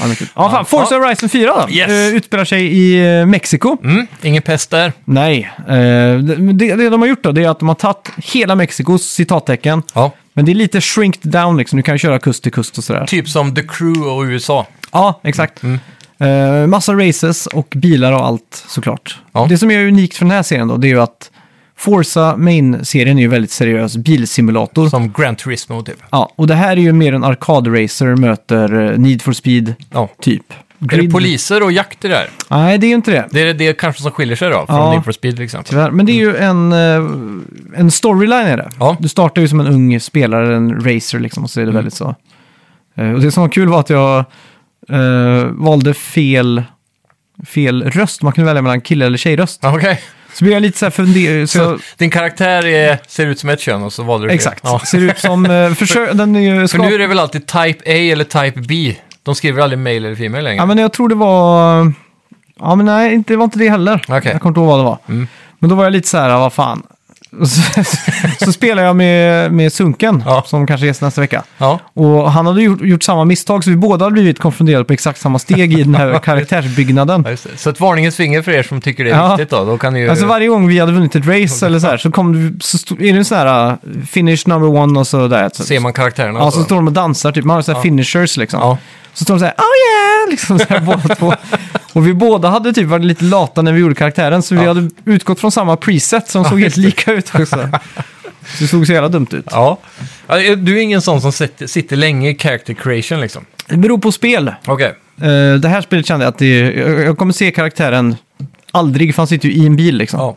A: mycket. ja, fan. Forza Horizon 4 då?
B: Yes.
A: Eh, utspelar sig i eh, Mexiko.
B: Mm, ingen pest där.
A: Nej, eh, det, det det de har gjort då det är att de har tagit hela Mexikos citattecken.
B: Ja.
A: Men det är lite shrinked down liksom. Du kan ju köra kust till kust och sådär.
B: Typ som The Crew och USA.
A: Ja, exakt. Eh, massa races och bilar och allt såklart.
B: Ja.
A: Det som är unikt för den här serien då, det är ju att Forza Main-serien är ju väldigt seriös bilsimulator.
B: Som Gran Turismo typ.
A: Ja, och det här är ju mer en arkadracer möter eh, Need for Speed,
B: Ja.
A: typ.
B: Är det
A: Grid-
B: poliser och jakter där?
A: Nej, det är ju inte det.
B: Det är det kanske som skiljer sig då från
A: Ja.
B: Need for Speed liksom. till exempel.
A: Tyvärr. Men det är ju en, eh, en storyline är det.
B: Mm. Ja. Mm.
A: Du startar ju som en ung spelare, en racer liksom, och så är det väldigt så. Eh, och det som var kul var att jag eh, valde fel, fel röst. Man kunde välja mellan kille eller tjejröst.
B: Ja, Okej.
A: Så blev jag lite så här funderad. Så
B: Så
A: jag,
B: din karaktär är, ser ut som ett kön och så valde du fel.
A: exakt.
B: Ja.
A: Ser ut som... Eh, försö- den är ju
B: För
A: skap-
B: nu är det väl alltid Type A eller Type B? De skriver aldrig male eller female längre.
A: Ja, men jag tror det var... Ja, men nej, inte- det var inte det heller.
B: Okej.
A: Jag kommer inte ihåg vad det var.
B: Mm.
A: Men då var jag lite så här, "Ah, vad fan. Och Så, så spelade jag med, med Sunken,
B: Ja.
A: som kanske gäst nästa vecka.
B: ja.
A: Och han hade gjort, gjort samma misstag, så vi båda hade blivit konfronterade på exakt samma steg i den här karaktärsbyggnaden.
B: Ja, just det. Så ett varningens finger för er som tycker det är
A: Ja.
B: viktigt då. Då kan ni ju...
A: Alltså varje gång vi hade vunnit ett race eller så här, så kom det, så stod, är det en sån här uh, finish number one och så där. Så,
B: Ser man karaktärerna?
A: ja,
B: och
A: så står de och dansar, typ. man har så här finishers liksom.
B: Ja.
A: Så står de så här, oh yeah, liksom så här båda två. Och vi båda hade typ varit lite lata när vi gjorde karaktären, så vi
B: Ja.
A: hade utgått från samma preset som såg helt lika ut också. Så det såg så jävla dumt ut.
B: Ja. Ja, Du är ingen sån som sitter, sitter länge i character creation liksom?
A: Det beror på spel.
B: Okej.
A: Eh, det här spelet kände jag att det, jag, jag kommer se karaktären aldrig, för han sitter ju i en bil liksom.
B: Ja.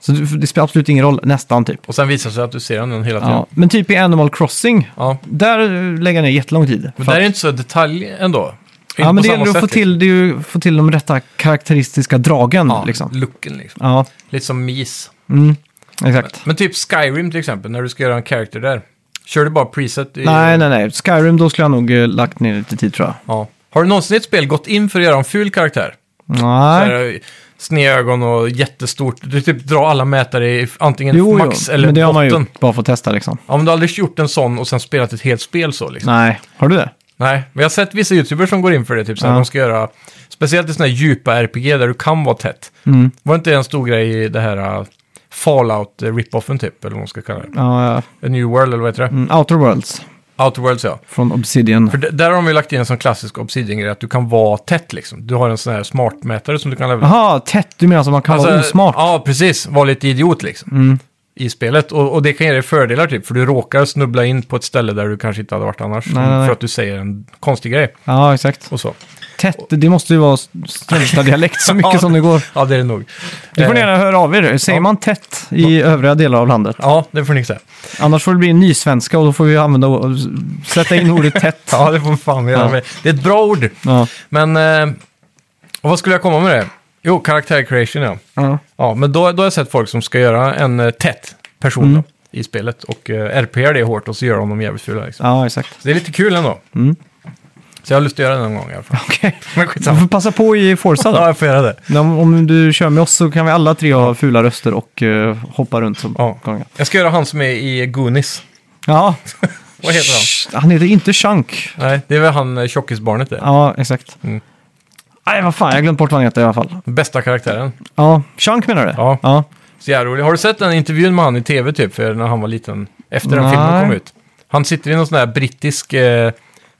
A: Så det, det spelar absolut ingen roll, nästan typ.
B: Och sen visar det sig att du ser den hela tiden.
A: Ja.
B: Ja.
A: Men typ i Animal Crossing, där eh, lägger jag ner jättelång tid.
B: Men
A: För
B: där är
A: att-
B: det inte så detalj ändå. Inte
A: ja,
B: på
A: men det
B: samma
A: gäller att
B: sätt,
A: få till, det är ju, få till de rätta karaktäristiska dragen
B: liksom.
A: liksom.
B: looken liksom.
A: Ja,
B: Lite som Mies.
A: mm, exakt.
B: Men typ Skyrim till exempel, när du ska göra en character där. Kör du bara preset? I...
A: Nej, nej, nej. Skyrim, då skulle jag nog eh, lagt ner lite tid tror jag.
B: Ja. Har du någonsin i ett spel gått in för att göra en ful karaktär? Så
A: Nej.
B: här, Sneda ögon och jättestort. Du typ drar alla mätare i antingen
A: Jo, jo.
B: max eller
A: men det har man
B: botten.
A: ju bara för att testa liksom.
B: Ja, men du har aldrig gjort en sån och sen spelat ett helt spel så liksom.
A: Nej, har du det?
B: Nej, men jag har sett vissa YouTubers som går in för det, typ så här,
A: Ja.
B: de ska göra, speciellt i sådana här djupa RPG där du kan vara tätt.
A: Mm.
B: Var det inte en stor grej i det här uh, Fallout uh, rip-offen typ, eller vad man ska kalla det?
A: Ja, ja.
B: A New World, eller vad heter det?
A: Mm, Outer Worlds
B: Outer Worlds, ja.
A: från Obsidian.
B: För d- där har de ju lagt in en sån klassisk Obsidian-grej, att du kan vara tätt liksom. Du har en sån här smartmätare som du kan levela.
A: Jaha, tätt. Du menar som man kan vara osmart?
B: Alltså,
A: Mm.
B: Ja, precis. Vara lite idiot liksom. I spelet. Och, och det kan ge dig fördelar typ, för du råkar snubbla in på ett ställe där du kanske inte hade varit annars.
A: Nej, nej, nej.
B: För att du säger en konstig grej
A: Ja, exakt.
B: och så.
A: Tätt, det måste ju vara Strömstad-dialekt så mycket
B: Ja,
A: som det går.
B: Ja, det är det nog.
A: Du får
B: Eh,
A: gärna höra av er. Säger
B: ja.
A: man tätt i övriga delar av landet?
B: Ja, det får ni säga.
A: Annars får det bli en ny svenska och då får vi använda, sätta in ordet tätt.
B: Ja, det får fan vi göra.
A: Ja.
B: med. Det är ett bra ord.
A: Ja.
B: Men, eh, och vad skulle jag komma med det? Jo, karaktär creation ja.
A: Ja.
B: Ja, men då, då har jag sett folk som ska göra en eh, tätt person
A: Mm.
B: då, i spelet och eh, RPR det hårt och så gör de dem jävligt fula. Liksom.
A: ja, exakt.
B: Så det är lite kul ändå.
A: Mm.
B: Så jag har lust att göra det någon gång i alla fall.
A: Okej.
B: Men
A: Du
B: skitsamma.
A: får passa på i Forza
B: Ja,
A: då.
B: jag får göra det.
A: Om, om du kör med oss så kan vi alla tre ha fula röster och eh, hoppa runt som
B: Ja.
A: galningar.
B: Jag ska göra han som är i Goonies.
A: Ja.
B: Vad heter han?
A: Shh, han heter inte Chunk.
B: Nej, det är väl han eh, tjockisbarnet det.
A: Ja, exakt.
B: Mm.
A: Nej, vad fan. Jag har glömt bort vad han heter i alla fall.
B: Bästa karaktären.
A: Ja, Chunk menar du?
B: Ja.
A: ja.
B: Så jävla roligt. Har du sett den intervjun med han i tv typ, för när han var liten? Efter den
A: Nej.
B: filmen kom ut. Han sitter i någon sån här brittisk, eh,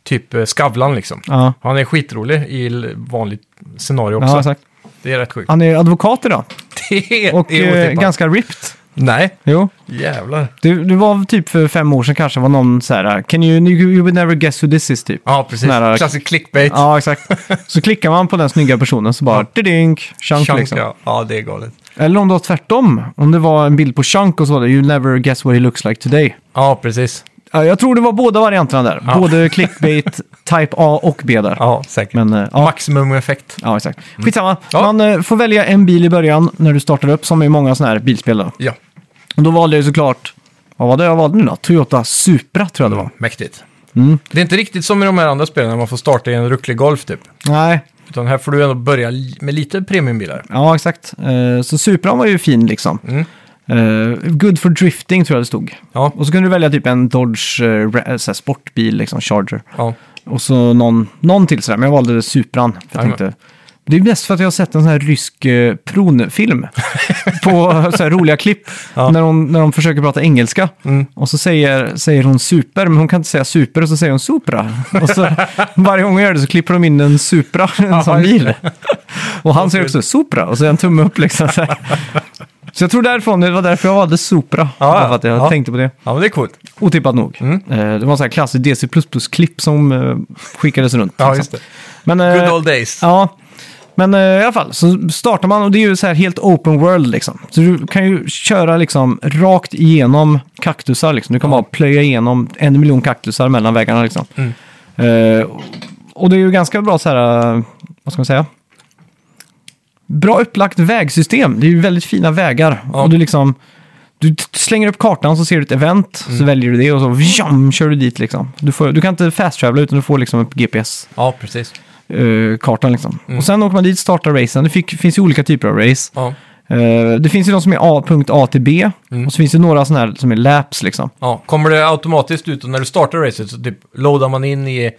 B: typ eh, Skavlan liksom.
A: Ja,
B: Han är skitrolig i l- vanligt scenario också.
A: ja exakt.
B: det är rätt sjukt.
A: Han är advokat idag.
B: Det är
A: Och eh,
B: otippat.
A: ganska ripped.
B: Nej,
A: Jo.
B: jävlar.
A: Det, det var typ för fem år sedan kanske var någon så här, can you, you, you would never guess who this is typ.
B: Ja, precis.
A: Sån här-
B: Klassisk clickbait.
A: Ja, exakt. Så klickar man på den snygga personen så bara, didink, chunk
B: Chunk,
A: liksom.
B: ja. ja, det är galet.
A: Eller om det var tvärtom, om det var en bild på chunk och så var det, you never guess what he looks like today.
B: Ja, precis.
A: Ja, jag tror det var båda varianterna där.
B: Ja.
A: Både clickbait, type A och B där.
B: Ja, säkert.
A: Men eh, ja,
B: Maximum effekt.
A: ja, exakt. Skitsamma.
B: Ja.
A: Man eh, får välja en bil i början när du startar upp, som i många sådana här bilspel. Då.
B: Ja,
A: Och då valde jag ju såklart, vad var det jag valde nu då? Toyota Supra tror jag
B: Mm.
A: det var.
B: mäktigt.
A: Mm.
B: Det är inte riktigt som i de här andra spelen när man får starta i en rucklig golf typ.
A: Nej,
B: Utan här får du ändå börja li- med lite premiumbilar.
A: ja exakt. Eh, så Supran var ju fin liksom.
B: Mm.
A: Eh, good for drifting tror jag det stod.
B: Ja,
A: Och så kunde du välja typ en Dodge eh, ra- så här sportbil, liksom Charger.
B: ja.
A: Och så någon, någon till sådär, men jag valde Supran. För jag
B: Jajamän.
A: tänkte, det är mest för att jag har sett en sån här rysk eh, pronfilm på eh, så här roliga klipp.
B: Ja.
A: När, hon, när de försöker prata engelska.
B: Mm.
A: Och så säger, säger hon super, men hon kan inte säga super, och så säger hon supra. Och så varje gång hon gör det så klipper de in en supra, en sån
B: just
A: bil. Och han säger också supra, och så är en tumme upp liksom. Så, här. så jag tror därifrån, det var därför jag valde supra.
B: Ja,
A: bara för att jag
B: ja.
A: tänkte på det.
B: ja men det är coolt.
A: Otippat nog.
B: Mm.
A: Eh, det var så här klassiskt DC++ klipp som eh, skickades runt. liksom.
B: Ja, just det.
A: Men, eh,
B: Good old days.
A: ja. Men eh, i alla fall, så startar man och det är ju så här helt open world liksom. Så du kan ju köra liksom rakt igenom kaktusar liksom. Du kan bara plöja igenom en miljon kaktusar mellan vägarna liksom.
B: Mm.
A: Eh, och det är ju ganska bra så här, eh, vad ska man säga? Bra upplagt vägsystem. Det är ju väldigt fina vägar.
B: Ja.
A: Och du liksom, du t- slänger upp kartan så ser du ett event, så
B: Mm.
A: väljer du det och så vjam, kör du dit liksom. Du, får, du kan inte fast travela utan du får liksom upp GPS
B: Ja, precis.
A: eh, kartan liksom.
B: Mm.
A: Och sen åker man dit, startar racen. Det fick, finns ju olika typer av race.
B: Ja,
A: Eh, det finns ju de som är A, punkt A till B.
B: Mm.
A: Och så finns det några sådana här som är laps liksom.
B: ja. Kommer det automatiskt ut och när du startar racet så typ loadar man in i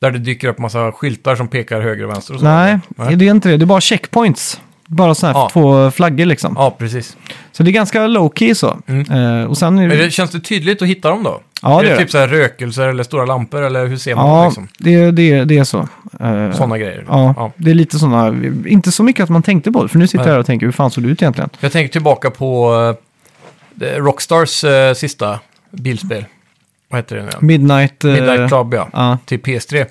B: där det dyker upp massa skyltar som pekar höger och vänster och så?
A: Nej,
B: Nej.
A: det är inte det. Det är bara checkpoints. Bara sådana här
B: Ja.
A: två flaggor liksom.
B: Ja, precis.
A: Så det är ganska low key så. Eh, och sen är
B: Mm. Är
A: det...
B: det, känns det tydligt att hitta dem då?
A: Ja,
B: är
A: det
B: det,
A: är
B: typ
A: det.
B: så här rökelser eller stora lampor eller hur ser man
A: Ja,
B: liksom?
A: det, det, det är så. Eh,
B: Sådana grejer.
A: Ja, det är lite sådana, inte så mycket att man tänkte på det, för nu sitter jag
B: Nej.
A: här och tänker hur fan såg det ut egentligen?
B: Jag tänker tillbaka på eh, Rockstars eh, sista bilspel. Vad heter det nu? igen?
A: Midnight... eh,
B: Midnight Club, ja.
A: Ja.
B: Till PS3.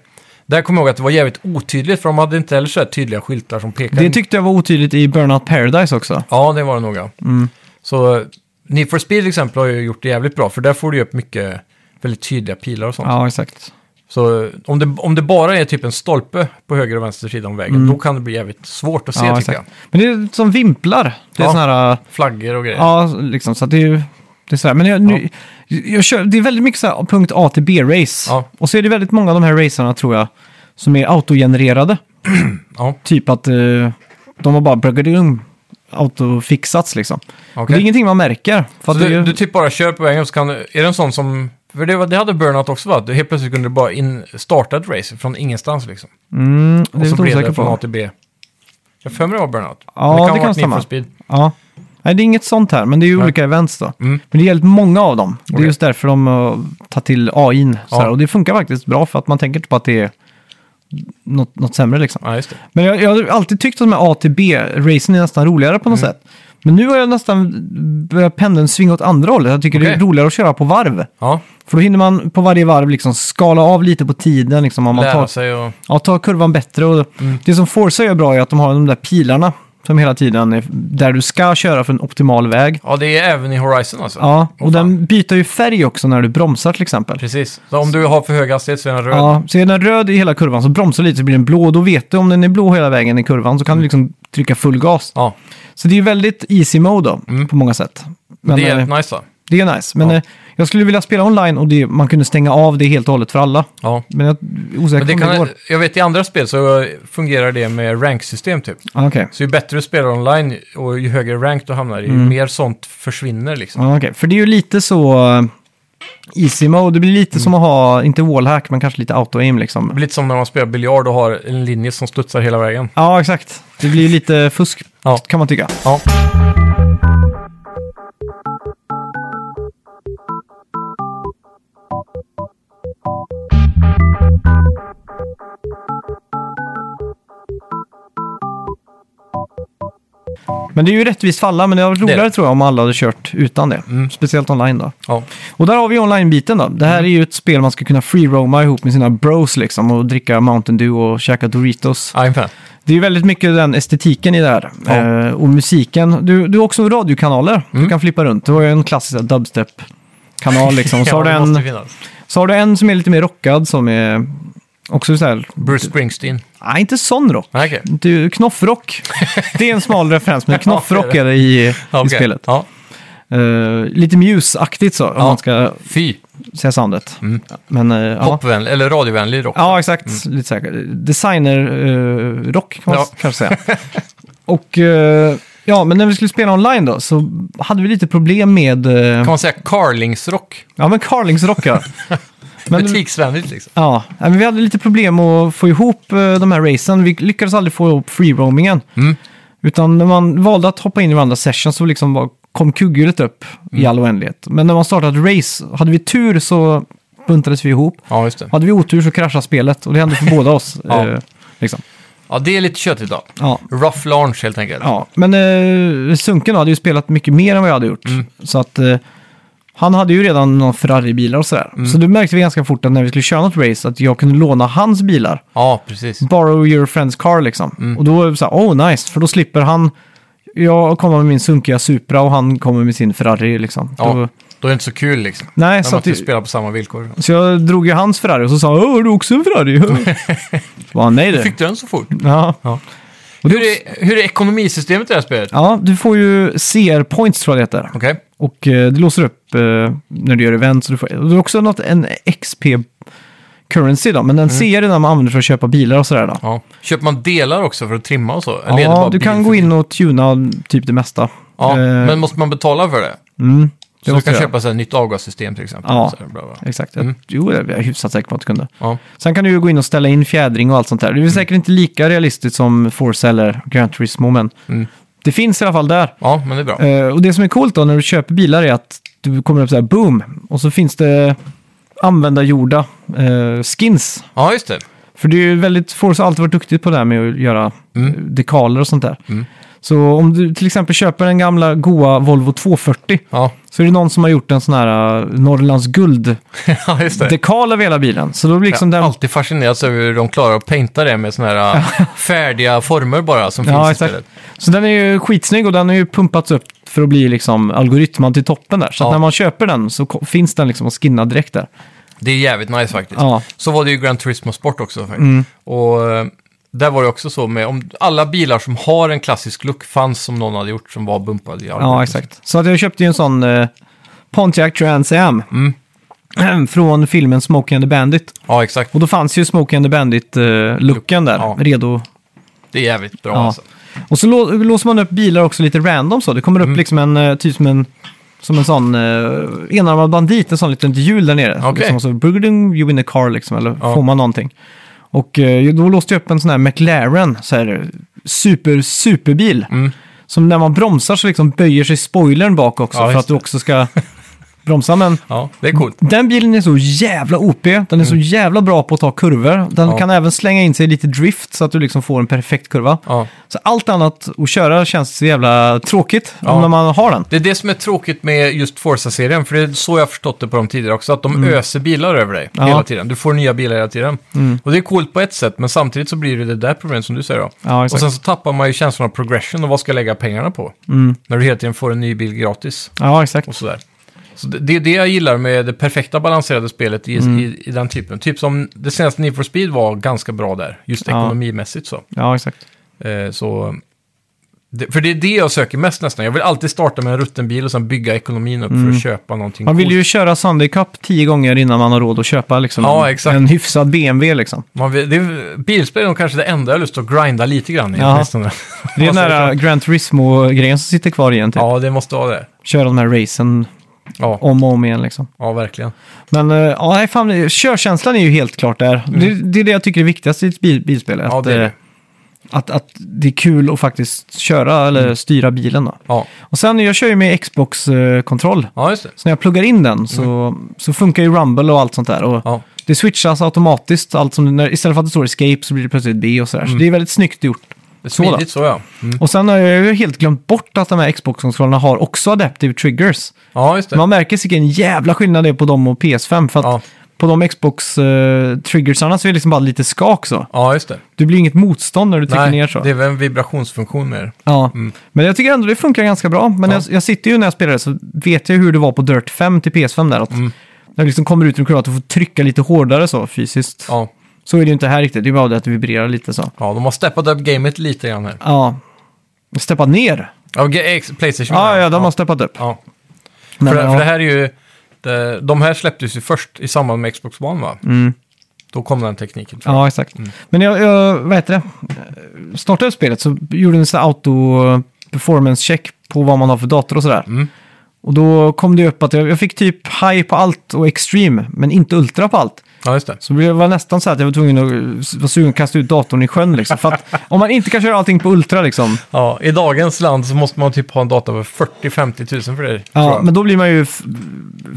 B: Där kommer jag ihåg att det var jävligt otydligt, för de hade inte heller så här tydliga skyltar som pekade.
A: Det tyckte jag var otydligt i Burnout Paradise också.
B: Ja, det var det nog. ja.
A: Mm.
B: Så eh, Need for Speed till exempel har ju gjort det jävligt bra, för där får du ju upp mycket väldigt tydliga pilar och sånt.
A: Ja, exakt.
B: Så eh, om det, om det bara är typ en stolpe på höger och vänster sida om vägen, då kan det bli jävligt svårt att se,
A: Mm. Ja,
B: tycker jag.
A: exakt. Men det är som vimplar. Det är
B: Ja.
A: såna här...
B: Flaggor och grejer.
A: Ja, liksom, så att det är ju... Det är sådär. Men jag, nu, jag kör, det är väldigt mycket så här punkt A till B-race.
B: Ja.
A: Och så är det väldigt många av de här racerna, tror jag, som är autogenererade.
B: Ja.
A: Typ att eh, de har bara bruggadum, autofixats liksom. Och
B: Okej.
A: Det är ingenting man märker. För
B: Så
A: att det,
B: du,
A: är-
B: du typ bara kör på vägen och så kan du, är det en sån som, för det, var- det hade Burnout också va? Du helt plötsligt kunde du bara in, starta ett race från ingenstans liksom.
A: mm, det är
B: Och så
A: lite
B: blev
A: osäker
B: det från A
A: på.
B: till B. Jag för mig det var Burnout.
A: Ja,
B: Men
A: det kan
B: ha varit Need
A: stämma.
B: for Speed.
A: Ja. Nej, det är inget sånt här, men det är ju
B: Nej.
A: olika events då.
B: Mm.
A: Men det är jävligt många av dem. Det är
B: Okej.
A: just därför de uh, tar till AIn. Så
B: Ja.
A: här. Och det funkar faktiskt bra för att man tänker inte på att det är något, något sämre liksom.
B: Ja, just det.
A: Men jag, jag har alltid tyckt att de här A till B-racen är nästan roligare på något
B: Mm.
A: sätt. Men nu har jag nästan börjat pendeln svinga åt andra hållet. Jag tycker det är
B: Okej.
A: roligare att köra på varv.
B: Ja,
A: För då hinner man på varje varv liksom skala av lite på tiden. Liksom, om man
B: lära
A: tar,
B: sig och...
A: ja, tar kurvan bättre. Och
B: Mm.
A: Det som Forza gör bra är att de har de där pilarna som hela tiden är där du ska köra för en optimal väg.
B: Ja, det är även i Horizon alltså.
A: Ja,
B: Åh,
A: och den byter ju färg också när du bromsar till exempel.
B: Precis. Så om du har för hög hastighet så är den röd.
A: Ja, så är den röd i hela kurvan så bromsar du lite så blir den blå. Och Då vet du om den är blå hela vägen i kurvan så kan du liksom trycka full gas.
B: Ja,
A: Så det är ju väldigt easy mode då,
B: Mm.
A: på många sätt. Men,
B: det är
A: eh,
B: jävligt nice va?
A: det är nice. Men
B: Ja.
A: eh, jag skulle vilja spela online och det, man kunde stänga av det helt och hållet för alla.
B: Ja.
A: Men jag är osäker
B: Men det
A: om det
B: kan,
A: går.
B: jag vet i andra spel så fungerar det med ranksystem typ.
A: Ah, Okej,
B: Så ju bättre du spelar online och ju högre rank du hamnar i, ju
A: Mm.
B: mer sånt försvinner liksom.
A: ah, okej. för det är ju lite så eh, easy mode. Det blir lite som att ha, inte wallhack, men kanske lite auto-aim liksom.
B: Det blir lite som när man spelar biljard och har en linje som studsar hela vägen.
A: Ja, exakt. Det blir ju lite fusk
B: Ja.
A: kan man tycka.
B: Ja.
A: Men det är ju rättvist för alla, men det hade varit
B: är
A: roligare
B: det. Mm.
A: tror jag om alla hade kört utan det. Speciellt online då.
B: Ja.
A: Och där har vi online-biten då. Det här
B: Mm.
A: är ju ett spel man ska kunna free-roama ihop med sina bros liksom och dricka Mountain Dew och käka Doritos.
B: Jajamän.
A: Det är ju väldigt mycket den estetiken i det här.
B: Ja. Mm.
A: Eh, och musiken. Du, du har också radiokanaler. Du kan flippa runt. Det var ju en klassisk dubstep-kanal liksom. Och Så,
B: Ja,
A: har du
B: det måste
A: en,
B: finnas.
A: så har du en som är lite mer rockad som är också så här...
B: Bruce Springsteen.
A: Nej, inte sån rock.
B: Nej, okej.
A: Du, knoffrock. Det är en smal referens, men knoffrock är det i,
B: Ja,
A: i
B: okej.
A: spelet.
B: Ja.
A: Eh, lite Muse-aktigt så, om
B: Ja. Mm.
A: man ska
B: Fy.
A: säga soundet. Men, eh, ja.
B: Popvänlig, eller radiovänlig rock.
A: ja, exakt. Lite säkert. Designer-rock eh, kan man
B: Mm. Ja.
A: s- kanske säga. Och eh, ja, men när vi skulle spela online då så hade vi lite problem med... eh,
B: Kan man säga carlingsrock?
A: ja, men Carlings-rock ja. Men-
B: Butiksvänligt liksom.
A: Ja, nej, men vi hade lite problem att få ihop eh, de här racen. Vi lyckades aldrig få ihop free-roamingen.
B: Mm.
A: Utan när man valde att hoppa in i varandra session så liksom bara kom kugghjulet upp i
B: Mm.
A: all oändlighet. Men när man startade ett race, hade vi tur så buntades vi ihop.
B: Ja, just det.
A: Hade vi otur så kraschade spelet och det hände för båda oss.
B: Ja.
A: eh, liksom.
B: Ja, det är lite köttigt då.
A: ja.
B: Rough launch helt enkelt.
A: Ja, men eh, Sunken hade ju spelat mycket mer än vad jag hade gjort.
B: Mm.
A: Så att eh, han hade ju redan några Ferrari-bilar och sådär.
B: Mm.
A: Så det märkte vi ganska fort att när vi skulle köra något race att jag kunde låna hans bilar.
B: Ja, precis.
A: borrow your friend's car liksom.
B: Mm.
A: Och då är det så här, oh nice, för då slipper han, jag kommer med min sunkiga Supra och han kommer med sin Ferrari liksom. Då,
B: Ja, då är det inte så kul liksom.
A: nej,
B: När
A: så,
B: man
A: att,
B: inte spelar på samma villkor.
A: så jag drog ju hans Ferrari och så sa han, åh, har du också en Ferrari? Var han, nej du.
B: Fick du den så fort?
A: Ja.
B: Ja. Hur är, hur är ekonomisystemet i det här spelet?
A: ja, du får ju CR points tror jag det heter.
B: Okej.
A: Och eh, det låser upp eh, när du gör event. Så du får, och det är också något, en XP currency då, men den CR är den man använder för att köpa bilar och sådär då.
B: Mm. Ja. Köper man delar också för att trimma och så? Eller är det
A: Ja,
B: bara
A: du
B: bil
A: kan
B: för
A: gå
B: bil?
A: in och tuna typ det mesta.
B: Ja,
A: Eh,
B: men måste man betala för det?
A: mm,
B: Så du
A: måste
B: kan
A: jag.
B: köpa så här, nytt avgassystem till exempel.
A: Ja.
B: Så här, bla, bla.
A: Exakt. Jag- Jo, jag är hyfsat säker på att du kunde.
B: Ja.
A: Sen kan du ju gå in och ställa in fjädring och allt sånt där.
B: Mm.
A: Det är väl säkert inte lika realistiskt som Force eller Gran Turismo, men
B: Mm.
A: det finns i alla fall där.
B: ja, men det är bra.
A: Eh, och det som är coolt då när du köper bilar är att du kommer upp så här boom och så finns det användargjorda eh, skins.
B: Ja, just det.
A: För det är ju väldigt, Force har alltid varit duktigt på det här med att göra
B: Mm.
A: eh, dekaler och sånt där.
B: Mm.
A: Så om du till exempel köper den gamla goa Volvo 240
B: Ja,
A: så är det någon som har gjort en sån här eh, Norrlands guld
B: ja just det.
A: dekal av hela bilen. Så då blir liksom
B: jag har
A: den...
B: alltid fascinerats över hur de klarar att painta det med sådana här äh, färdiga former bara som
A: Ja,
B: finns
A: exakt.
B: istället.
A: Så den är ju skitsnygg och den har ju pumpats upp för att bli liksom algoritman till toppen där. Så att
B: Ja.
A: när man köper den så ko- finns den liksom att skinna direkt där.
B: Det är jävligt nice faktiskt.
A: Ja. Mm.
B: Så var det ju Gran Turismo Sport också faktiskt. Och eh, där var det också så med om alla bilar som har en klassisk look fanns som någon hade gjort som var bumpad i
A: Ja, exakt. Så att jag köpte ju en sån eh, Pontiac Trans Am.
B: Mm.
A: Från filmen Smoking and the Bandit.
B: Ja, exakt.
A: Och då fanns ju Smoking and the Bandit-looken där,
B: Ja.
A: redo.
B: Det är jävligt bra
A: Ja.
B: alltså.
A: Och så lå- låser man upp bilar också lite random så. Det kommer upp
B: Mm.
A: liksom en, eh, typ som en, som en sån eh, enarmad bandit, en sån liten hjul där nere.
B: Okej.
A: Liksom, och så burgling, you win a car liksom, eller
B: Ja.
A: får man någonting. Och eh, då låste jag upp en sån här McLaren, så här super, superbil.
B: Mm.
A: Som när man bromsar så liksom böjer sig spoilern bak också
B: Ja,
A: för
B: just
A: att du också ska bromsa. Men
B: Ja, det är coolt.
A: den bilen är så jävla OP, den är så jävla bra på att ta kurvor. Den
B: Mm. Ja.
A: kan även slänga in sig i lite drift så att du liksom får en perfekt kurva.
B: Ja.
A: Så allt annat att köra känns så jävla tråkigt
B: Ja.
A: om när man har den.
B: Det är det som är tråkigt med just Forza-serien, för det är så jag har förstått det på dem tidigare också, att de öser bilar över dig
A: Mm. Ja. Mm.
B: hela tiden. Du får nya bilar hela tiden. Och det är coolt på ett sätt, men samtidigt så blir det det där problemet som du säger då.
A: Ja,
B: och
A: exakt. Mm.
B: sen så tappar man ju känslan av progression och vad ska jag lägga pengarna på? När du hela tiden får en ny bil gratis
A: Ja, exakt.
B: och sådär. Så det, det är det jag gillar med det perfekta balanserade spelet i,
A: Mm.
B: i, i den typen. Typ som det senaste Need for Speed var ganska bra där, just
A: Ja.
B: ekonomimässigt så.
A: Ja, exakt.
B: Eh, så det, för det är det jag söker mest nästan. Jag vill alltid starta med en rutten bil och sen bygga ekonomin upp för att köpa någonting
A: Mm. Man vill
B: coolt.
A: ju köra Sunday Cup tio gånger innan man har råd att köpa liksom,
B: Ja,
A: en-
B: exakt.
A: en hyfsad BMW. Liksom.
B: Man vill, det är, bilspel är nog kanske det enda jag har lust att grinda lite grann i.
A: Ja.
B: åtminstone.
A: Det är typ. den
B: Vad säger
A: där
B: du?
A: Gran Turismo-grejen som sitter kvar igen. Typ.
B: Ja, det måste vara det.
A: Köra de här racen
B: Ja,
A: om och om igen. Liksom.
B: ja verkligen.
A: Men eh, ja, nej, fan, körkänslan är ju helt klart där. Det, det är det jag tycker är viktigast i ett bil, bilspel. Att,
B: Mm. Ja, det är
A: eh,
B: det.
A: att, att det är kul att faktiskt köra
B: Mm.
A: eller styra bilen. Då.
B: Ja.
A: Och sen, jag kör ju med eh, Xbox-kontroll.
B: ja, just det.
A: Så när jag pluggar in den så, så funkar ju Rumble och allt sånt där. Och
B: Mm. Ja.
A: Det switchas automatiskt. Allt som, när, istället för att det står escape så blir det plötsligt B och sådär. Så det är väldigt snyggt gjort.
B: Det är
A: Så då.
B: smidigt så, ja. Mm.
A: Och sen har jag ju helt glömt bort att de här Xbox-kontrollerna har också Adaptive Triggers.
B: Ja, just det.
A: Man märker vilken jävla skillnad det är på dem och PS5. För att
B: Ja,
A: på de Xbox-triggersarna så är det liksom bara lite skak så.
B: ja just det.
A: Du blir inget motstånd när du trycker ner så.
B: det är väl en vibrationsfunktion mer.
A: Ja. Men jag tycker ändå det funkar ganska bra. Men
B: Mm. Ja.
A: jag, jag sitter ju när jag spelar det så vet jag ju hur det var på Dirt 5 till PS5 där. Att
B: Mm.
A: När du liksom kommer ut ur kurvan att du får trycka lite hårdare så fysiskt.
B: Ja.
A: Så är det ju inte här riktigt. Det är bara det att det vibrerar lite så.
B: ja, de har steppat upp gamet lite grann här.
A: Ja. Steppa ner.
B: Ja, G- X- Playstation.
A: Ja,
B: menar jag.
A: ja, de har steppat upp.
B: ja.
A: Men,
B: för, för
A: ja.
B: det här är ju... De, de här släpptes ju först i samband med Xbox One, va? Då kom den tekniken. tror jag.
A: Mm. Ja, exakt. Men jag, jag, vad heter det? Startade upp spelet så gjorde den så här auto-performance-check på vad man har för dator och sådär.
B: Mm.
A: Och då kom det upp att jag, jag fick typ high på allt och extreme, men inte ultra på allt.
B: ja, just det.
A: Så det var nästan så här att jag var tvungen att var sugen att kasta ut datorn i sjön liksom. För att om man inte kan köra allting på ultra liksom,
B: Ja, I dagens land så måste man typ ha en dator för 40-50 000 för det. tror
A: ja,
B: jag.
A: men då blir man ju f-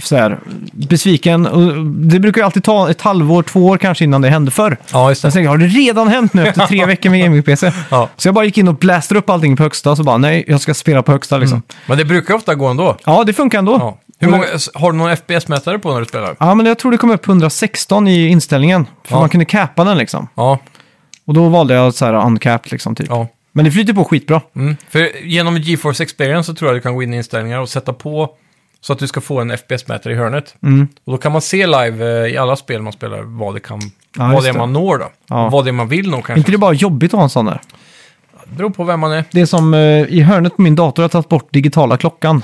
A: så här, besviken. Och det brukar ju alltid ta ett halvår, två år kanske innan det hände förr.
B: ja just
A: Sen
B: det.
A: tänkte jag, har det redan hänt nu efter tre veckor med gaming-PC?
B: Ja.
A: Så jag bara gick in och blästade upp allting på högsta och så bara, nej, jag ska spela på högsta liksom.
B: Men det brukar ofta gå ändå.
A: Ja, det funkar ändå.
B: Mm. Ja. Hur många, har du någon FPS-mätare på när du spelar?
A: Ja, men jag tror det kom upp 116 i inställningen. För
B: Ja.
A: man kunde cappa den liksom.
B: Ja,
A: Och då valde jag så här uncapped liksom typ.
B: ja.
A: Men det flyter på skitbra.
B: Mm. För genom GeForce Experience så tror jag du kan gå in i inställningar och sätta på så att du ska få en FPS-mätare i hörnet.
A: Mm.
B: Och då kan man se live eh, i alla spel man spelar vad det, kan, vad
A: just
B: det är
A: det.
B: man når då.
A: Ja.
B: Vad det är man vill nå
A: Är inte
B: kanske.
A: det bara jobbigt att ha en sån där?
B: Det beror på vem man är.
A: Det är som eh, i hörnet på min dator har jag tagit bort digitala klockan.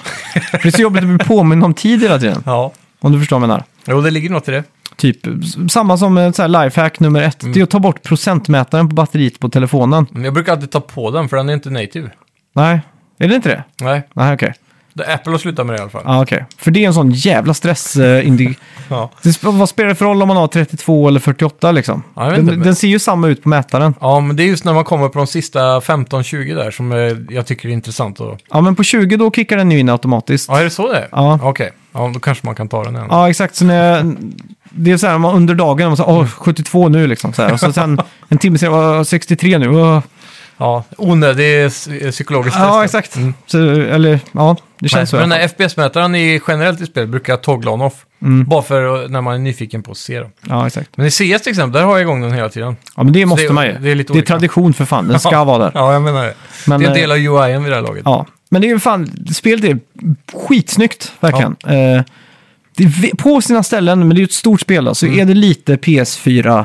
A: För det är så jobbigt att bli påminn om tid hela tiden.
B: Ja.
A: Om du förstår vad jag menar.
B: Jo, det ligger något i det.
A: Typ s- samma som eh, så här lifehack nummer ett.
B: Mm.
A: Det är att ta bort procentmätaren på batteriet på telefonen.
B: Men Jag brukar alltid ta på den för den är inte native.
A: Nej, är det inte det?
B: Nej,
A: Nej, okej.
B: det Apple har slutat med det i alla fall.
A: Ja, okej. För det är en sån jävla stress. eh, indi-
B: Ja.
A: det sp- vad spelar det för roll om man har 32 eller 48 liksom?
B: Ja, jag vet
A: den,
B: inte, men-
A: den ser ju samma ut på mätaren.
B: Ja, men det är just när man kommer på de sista 15-20 där som eh, jag tycker är intressant. Och...
A: Ja, men på 20 då kickar den ju in automatiskt.
B: Ja, är det så det är?
A: Ja.
B: Okej, ja, då kanske man kan ta den igen.
A: Ja, exakt. Så när jag, det är så här, man under dagen, man säger
B: Mm.
A: åh, 72 nu liksom. Så här. Och så sen en timme senare, "Åh, 63 nu. åh."
B: Ja, onödig eh, psykologisk
A: Ja,
B: test.
A: exakt. Så, eller ja, det
B: Nej,
A: känns så. i
B: Mm. men
A: alla
B: den
A: fall.
B: här FPS-mätaren i, generellt i spel brukar jag toggla on off.
A: Mm.
B: Bara för eh, när man är nyfiken på att se dem.
A: Ja, exakt.
B: Men i CS till exempel, där har jag igång den hela tiden.
A: Ja, men det måste
B: det-
A: man ju.
B: det är lite
A: det är
B: olika.
A: tradition för fan. Den ska vara där.
B: Ja, jag menar det.
A: Men,
B: det är en
A: eh,
B: del av UI'n vid det här laget.
A: Ja, men det är ju fan, spelet är skitsnyggt verkligen. Eh, det är ve- på sina ställen, men det är ju ett stort spel då, så
B: Mm.
A: är det lite PS4,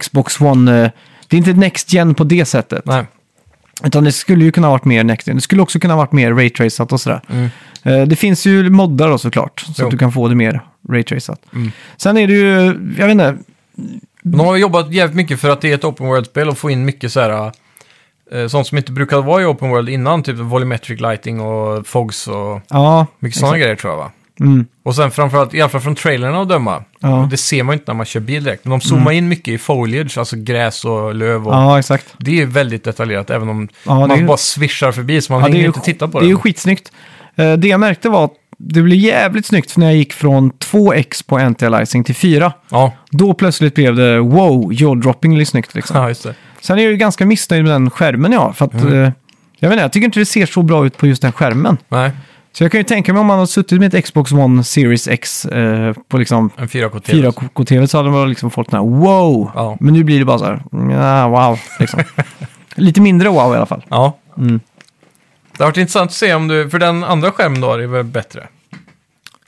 A: Xbox One, eh, det är inte Next Gen på det sättet.
B: Nej,
A: Utan det skulle ju kunna varit mer Next Gen, det skulle också kunna varit mer raytracat och sådär. Eh, det finns ju moddar då såklart, så
B: Mm. Jo. Mm.
A: att du kan få det mer raytracat. Sen är det ju, jag vet inte,
B: de har jobbat jävligt mycket för att det är ett open world-spel och få in mycket så här... eh, Sånt som inte brukade vara i open world innan, typ volumetric lighting och fogs och
A: ja,
B: mycket sådana grejer tror jag va?
A: Mm.
B: Och sen framförallt, i alla fall från trailerna att döma,
A: Ja. Mm.
B: det ser man ju inte när man kör bil direkt, men de zoomar in mycket i foliage, alltså gräs och löv och
A: ja exakt.
B: Det är väldigt detaljerat, även om
A: Ja, det
B: man
A: är-
B: bara svischar förbi så man
A: Ja, det är
B: hinner
A: ju
B: inte
A: sk-
B: titta på
A: Det är
B: det.
A: ju skitsnyggt. Eh, Det jag märkte var att det blev jävligt snyggt för när jag gick från 2x på anti-aliasing till 4.
B: Ja,
A: Då plötsligt blev det wow, jaw-droppingly snyggt liksom.
B: ja, Mm. just det.
A: Sen är jag ju ganska missnöjd med den skärmen jag har. För att, eh, jag vet inte, jag tycker inte det ser så bra ut på just den skärmen.
B: Nej,
A: Så jag kan ju tänka mig om man har suttit med ett Xbox One Series X eh, på liksom
B: en 4K TV.
A: 4K-TV så hade man liksom fått den här wow.
B: Ja.
A: Men nu blir det bara så här, "Nja, wow, liksom. Lite mindre wow i alla fall.
B: Ja.
A: Mm.
B: Det har varit intressant att se om du, för den andra skärmen du har är väl bättre.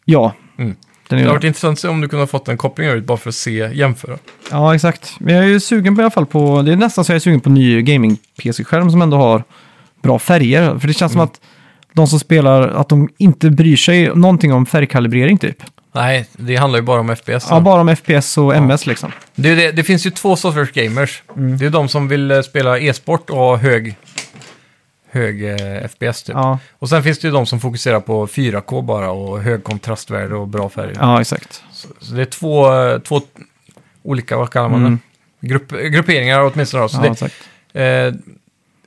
A: Ja.
B: Mm.
A: Den är
B: Det
A: ju
B: har varit intressant att se om du kunde ha fått en koppling ut bara för att se, jämföra.
A: Ja, exakt. Men jag är ju sugen på i alla fall på... Det är nästan så jag är sugen på en ny gaming-PC-skärm som ändå har bra färger. För det känns
B: Mm.
A: som att de som spelar, att de inte bryr sig någonting om färgkalibrering typ.
B: Nej, det handlar ju bara om FPS.
A: Ja, bara om FPS och MS liksom.
B: det, är ju det, det finns ju två sorters gamers.
A: Mm.
B: Det är de som vill eh, spela e-sport och ha hög, hög eh, FPS typ.
A: Ja,
B: Och sen finns det ju de som fokuserar på 4K bara och hög kontrastvärde och bra färger.
A: ja exakt.
B: Så det är två, eh, två olika, vad kallar man
A: Mm.
B: det? Grupp, grupperingar åtminstone. Då. Så
A: Ja, exakt.
B: det, eh,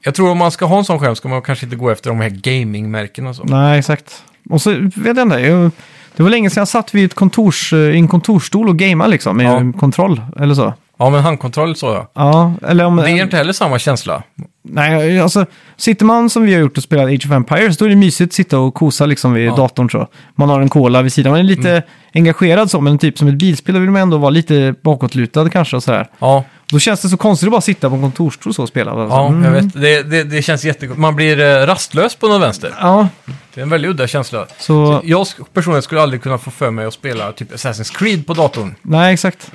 B: jag tror om man ska ha en sån skärm ska man kanske inte gå efter de här gamingmärkena. och Så.
A: Nej, exakt. Och så vet jag inte. Jag, det var länge sedan jag satt vid ett kontors, i en kontorsstol och gamea liksom med
B: Ja.
A: en kontroll eller så.
B: Ja, men handkontroll så ja.
A: Ja, eller om...
B: Det ger inte heller samma känsla.
A: Nej, alltså sitter man som vi har gjort och spelat Age of Empires, då är det mysigt att sitta och kosa liksom vid datorn så. Man har en cola vid sidan, man är lite
B: Mm.
A: engagerad så, men typ som ett bilspel då vill man ändå vara lite bakåtlutad kanske och sådär.
B: Ja,
A: Då känns det så konstigt att bara sitta på en kontorsstol så och spela. Alltså,
B: ja
A: mm.
B: jag vet. Det, det, det känns jättegott. Man blir eh, rastlös på någon vänster.
A: Ja,
B: Det är en väldigt udda känsla.
A: så...
B: Jag sk- personligen skulle aldrig kunna få för mig att spela typ Assassin's Creed på datorn.
A: Nej, exakt.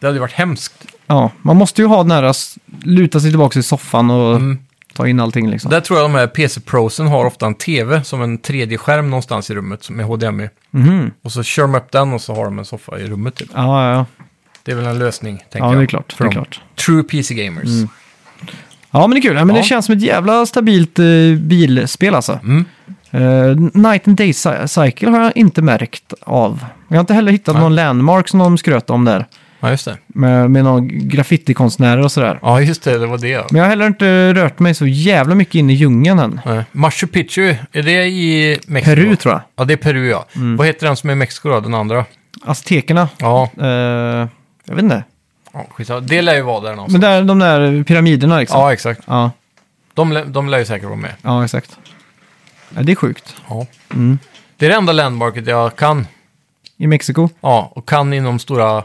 B: Det hade ju varit hemskt.
A: Ja, man måste ju ha den här att luta sig tillbaka i soffan och
B: Mm.
A: ta in allting liksom.
B: Där tror jag de här PC-prosen har ofta en TV som en 3D-skärm någonstans i rummet som är HDMI.
A: Mhm.
B: Och så kör de upp den och så har de en soffa i rummet typ.
A: Ja, ja, ja.
B: Det är väl en lösning, tänker
A: Ja,
B: jag.
A: det är klart. Det
B: För
A: är
B: de
A: klart. Mm.
B: True PC-gamers.
A: Ja, men det är kul. Ja, men
B: Ja.
A: Det känns som ett jävla stabilt eh, bilspel alltså.
B: Mm.
A: Eh, Night and Day Cy- Cycle har jag inte märkt av. Jag har inte heller hittat
B: Nej.
A: någon landmark som de skröt om där.
B: Ja, just det.
A: Med, med någon graffitikonstnärer och sådär.
B: Ja, just det. Det var det. Ja.
A: Men jag har heller inte rört mig så jävla mycket in i djungeln än.
B: Nej. Machu Picchu, är det i Mexiko?
A: Peru Mm. tror jag.
B: Ja, det är Peru ja. Vad heter den som är i Mexiko då, den andra?
A: Aztekerna.
B: Ja,
A: Eh, jag vet inte.
B: ja skitsamma. Det lär ju vara där
A: Men
B: någonstans.
A: där, de där pyramiderna liksom.
B: Ja, exakt.
A: Ja,
B: De, lä- de lär ju säkert vara med.
A: ja exakt. Ja, det är sjukt.
B: Ja.
A: Mm.
B: Det är det enda landmarket jag kan.
A: I Mexiko.
B: Ja, och kan inom stora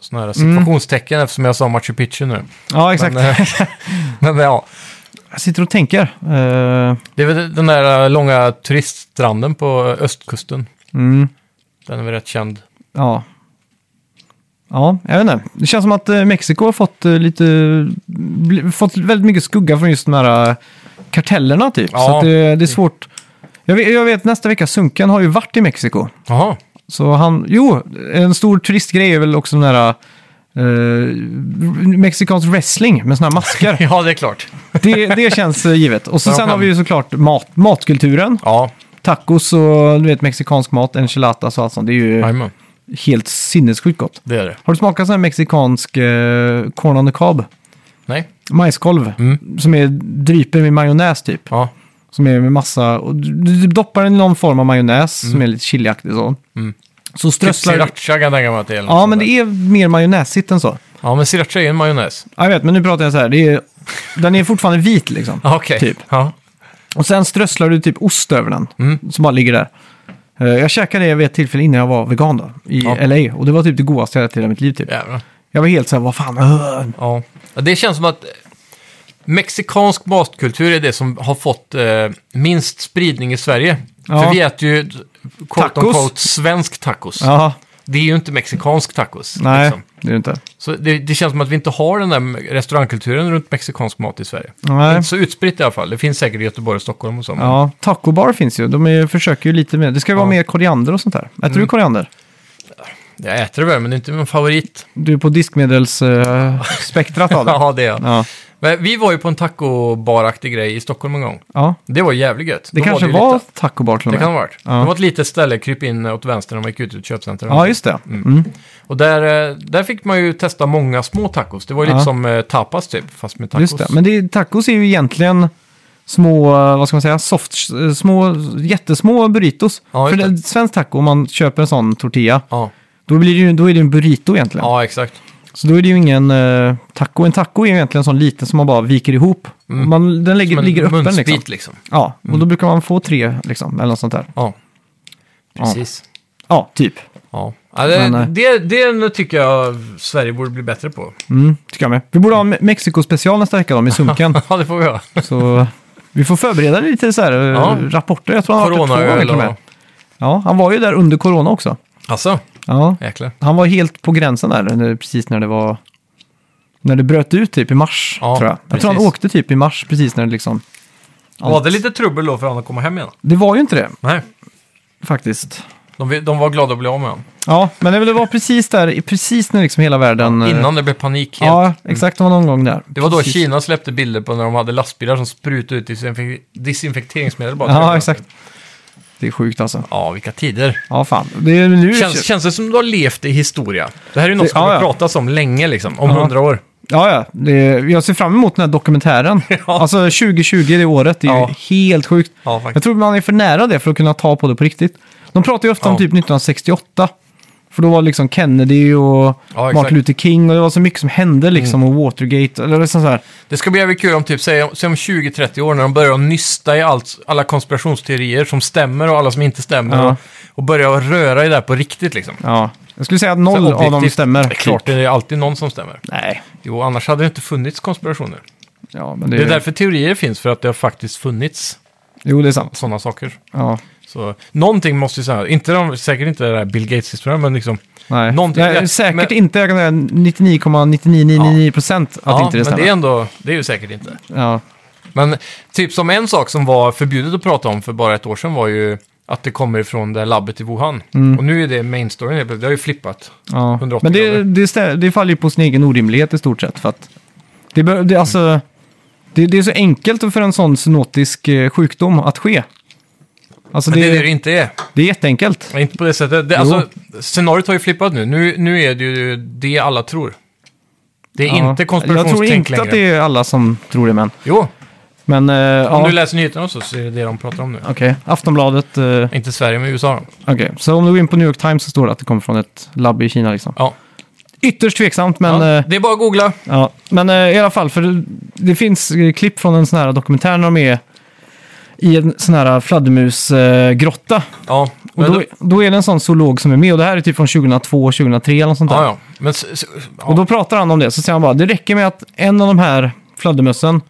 B: såna här situationstecken eftersom jag sa Machu Picchu nu.
A: Ja, exakt.
B: Men, eh, men ja,
A: Jag sitter och tänker. Eh,
B: det är väl den där eh, långa turiststranden på eh, östkusten.
A: mm.
B: Den är väl rätt känd.
A: Ja. Ja, jag vet inte. Det känns som att eh, Mexiko har fått eh, lite... bli- Fått väldigt mycket skugga från just de här eh, kartellerna typ. Så
B: Ja.
A: att det, det är svårt. Jag vet, jag vet nästa vecka, Sunkan har ju varit i Mexiko.
B: Jaha,
A: Så han... Jo, en stor turistgrej är väl också den här... Uh, mexikansk wrestling med såna här masker.
B: ja det är klart.
A: det, det känns eh, givet. Och så,
B: Ja,
A: sen har
B: skämt.
A: vi ju såklart mat, matkulturen.
B: Ja,
A: Tacos och du vet mexikansk mat, enchiladas och allt sånt. Det är ju
B: jajamän,
A: helt sinnessjukt gott.
B: det är det.
A: Har du smakat sån här mexikansk eh, corn on the cob?
B: Nej,
A: Majskolv.
B: Mm.
A: Som är dryper med majonnäs typ.
B: ja,
A: Som är med massa... Och du, du typ doppar den i någon form av majonnäs som är lite chiliaktig så.
B: Mm.
A: Så
B: typ
A: strösslar du...
B: sriracha kan jag tänka mig att det är. eller något
A: Ja,
B: sånt
A: men
B: där.
A: det är mer majonnäsigt än så.
B: Ja, men sriracha är ju en majonnäs.
A: Jag vet, men nu pratar jag så här. Det är, den är fortfarande vit liksom.
B: Ja, Okej.
A: Typ.
B: Ja.
A: Och sen strösslar du typ ost över den.
B: Mm.
A: Som bara ligger där. Eh, Jag käkade det vid ett tillfälle innan jag var vegan då, i
B: Ja.
A: LA. Och det var typ det godaste jag ätit i hela mitt liv typ.
B: Jävlar.
A: Jag var helt så här, vad fan, öh.
B: Ja. Ja, Det känns som att eh, mexikansk matkultur är det som har fått eh, minst spridning i Sverige.
A: Ja.
B: För vi äter ju quote
A: Tacos.
B: unquote, svensk tacos.
A: Ja,
B: Det är ju inte mexikansk tacos.
A: nej,
B: liksom.
A: det är det inte.
B: Så det, det känns som att vi inte har den där restaurangkulturen runt mexikansk mat i Sverige.
A: Nej.
B: Inte så utspritt i alla fall. Det finns säkert i Göteborg och Stockholm och så. men
A: Ja, tacobar finns ju. De är, försöker ju lite mer. Det ska ju vara
B: Ja. Mm.
A: mer koriander och sånt där. Äter du koriander?
B: Jag äter det väl, men det är inte min favorit.
A: Du är på diskmedelsspektrat av det.
B: Ja, det är jag.
A: Ja,
B: Men vi var ju på en tacobaraktig grej i Stockholm en gång.
A: ja.
B: Det var jävligt gött.
A: det
B: Då
A: kanske
B: ju
A: var
B: lite-
A: tacobar till
B: Det
A: och
B: kan
A: med.
B: ha varit.
A: Ja.
B: Det var ett litet ställe, kryp in åt vänster när man gick ut ur köpcentret.
A: Ja, just det. Mm.
B: Och där, eh, där fick man ju testa många små tacos. Det var ju
A: Ja.
B: lite som eh, tapas typ, fast med tacos.
A: Just det. Men det, är- tacos är ju egentligen små, eh, vad ska man säga, soft, eh, små, jättesmå burritos.
B: Ja,
A: För
B: just det.
A: det, svensk taco, om man köper en sån tortilla,
B: Ja.
A: då, blir det ju, då är det en burrito egentligen.
B: ja, exakt.
A: Så då är det ju ingen eh, taco. En taco är ju egentligen en sån liten som man bara viker ihop. Man, den
B: Mm. Som
A: lägger,
B: en
A: ligger öppen
B: munsbit
A: liksom.
B: liksom.
A: Ja, och då brukar man få tre liksom, eller något sånt där.
B: Ja, precis.
A: Ja, typ.
B: Ja. Ja, det,
A: Men, eh,
B: det, det tycker jag Sverige borde bli bättre på.
A: Mm, tycker jag med. Vi borde ha en Me- Mexiko-special nästa vecka då, med sunken.
B: Ja, det får vi göra.
A: så vi får förbereda lite så här eh,
B: Ja.
A: rapporter. Jag tror han har varit där två gånger
B: Coronaöl
A: till och med.
B: och...
A: Ja, han var ju där under corona också.
B: Alltså,
A: Ja,
B: jäklar.
A: han var helt på gränsen där, när- precis när det var... När det bröt ut typ i mars,
B: Ja,
A: tror jag. Jag tror han
B: precis.
A: åkte typ i mars, precis när det liksom...
B: Var det lite trubbel då för honom att komma hem igen?
A: Det var ju inte det,
B: Nej,
A: faktiskt.
B: de, vill- de var glada att bli av med honom.
A: Ja, men det var precis där, precis när liksom hela världen... eh,
B: Innan det blev panik helt.
A: Ja, exakt. Det var någon gång där.
B: Det var då
A: Precis.
B: Kina släppte bilder på när de hade lastbilar som sprutade ut disinfek- disinfekteringsmedel bara. Typ.
A: Ja, exakt. Det är sjukt alltså.
B: Ja, vilka tider.
A: Ja, fan. Det är nu...
B: Känns, känns det som du har levt i historia? Det här är ju något
A: Det-
B: som
A: ja,
B: kommer
A: ja.
B: pratas om länge, liksom. Om
A: Ja.
B: hundra år.
A: Ja, ja. Det är... Jag ser fram emot den här dokumentären. Alltså 2020, det året, det är
B: Ja.
A: ju helt sjukt.
B: Ja, faktiskt.
A: Jag tror man är för nära det för att kunna ta på det på riktigt. De pratar ju ofta om
B: Ja.
A: typ 1968. typ För då var liksom Kennedy och
B: Ja, exakt. Mm.
A: Martin Luther King och det var så mycket som hände liksom. Och Watergate. Eller liksom så här.
B: Det ska bli jävligt kul om typ, säg om, säg om 20-30 år när de börjar nysta i allt, alla konspirationsteorier som stämmer och alla som inte stämmer.
A: Ja.
B: Och, och börjar röra i det här på riktigt liksom.
A: Ja. Jag skulle säga att noll
B: Så
A: av dem
B: objektivt,
A: stämmer.
B: Det är klart, det är alltid någon som stämmer.
A: Nej.
B: Jo, annars hade det inte funnits konspirationer.
A: Ja, men det,
B: Det är därför teorier finns, för att det har faktiskt funnits
A: Jo, det är sant.
B: sådana saker.
A: Ja.
B: Så någonting måste ju säga, inte de, säkert inte det där Bill Gates-historien, men liksom...
A: Nej.
B: Någonting-
A: Nej, säkert
B: men-
A: inte. eh, Jag kan säga 99,9999 procent att
B: ja,
A: inte det
B: men
A: stämmer.
B: det är ändå, det är ju säkert inte.
A: Ja.
B: Men typ som en sak som var förbjudet att prata om för bara ett år sedan var ju att det kommer ifrån det här labbet i Wuhan. Och nu är det main storyn helt plötsligt. det har ju flippat.
A: Mm. Ja.
B: 180
A: Men det,
B: grader.
A: det, stä- det faller ju på sin egen orimlighet i stort sett. För att det, bör, det, alltså, det, det är så enkelt för en sån zoonotisk eh, sjukdom att ske. Alltså
B: Men
A: det,
B: det är det det
A: det,
B: inte är.
A: är jätteenkelt.
B: Nej, Inte på det sättet. Det, alltså, scenariot har ju flippat nu. nu. Nu är det ju det alla tror. Det är
A: Ja.
B: inte
A: Jag tror
B: konspirationstänk
A: inte
B: längre.
A: att det är alla som tror det, men...
B: Jo, om
A: Men eh, ja,
B: du läser nyheterna också så är det det de pratar om nu.
A: okej. Aftonbladet. Eh, okej,
B: Inte Sverige, men USA. då.
A: så om du går in på New York Times så står det att det kommer från ett labb i Kina liksom.
B: Ja.
A: Ytterst tveksamt, men...
B: ja.
A: eh,
B: Det är bara att googla.
A: Ja, men eh, i alla fall, för det, det finns eh, klipp från en sån här dokumentär när de är i en sån här fladdermusgrotta. Eh, grotta.
B: Ja,
A: och
B: men
A: då,
B: då-
A: då är det en sån zoolog som är med och det här är typ från 2002, 2003 eller något sånt där.
B: ja, ja. Men, s- s- ja.
A: Och då pratar han om det, så säger han bara det räcker med att en av de här fladdermössen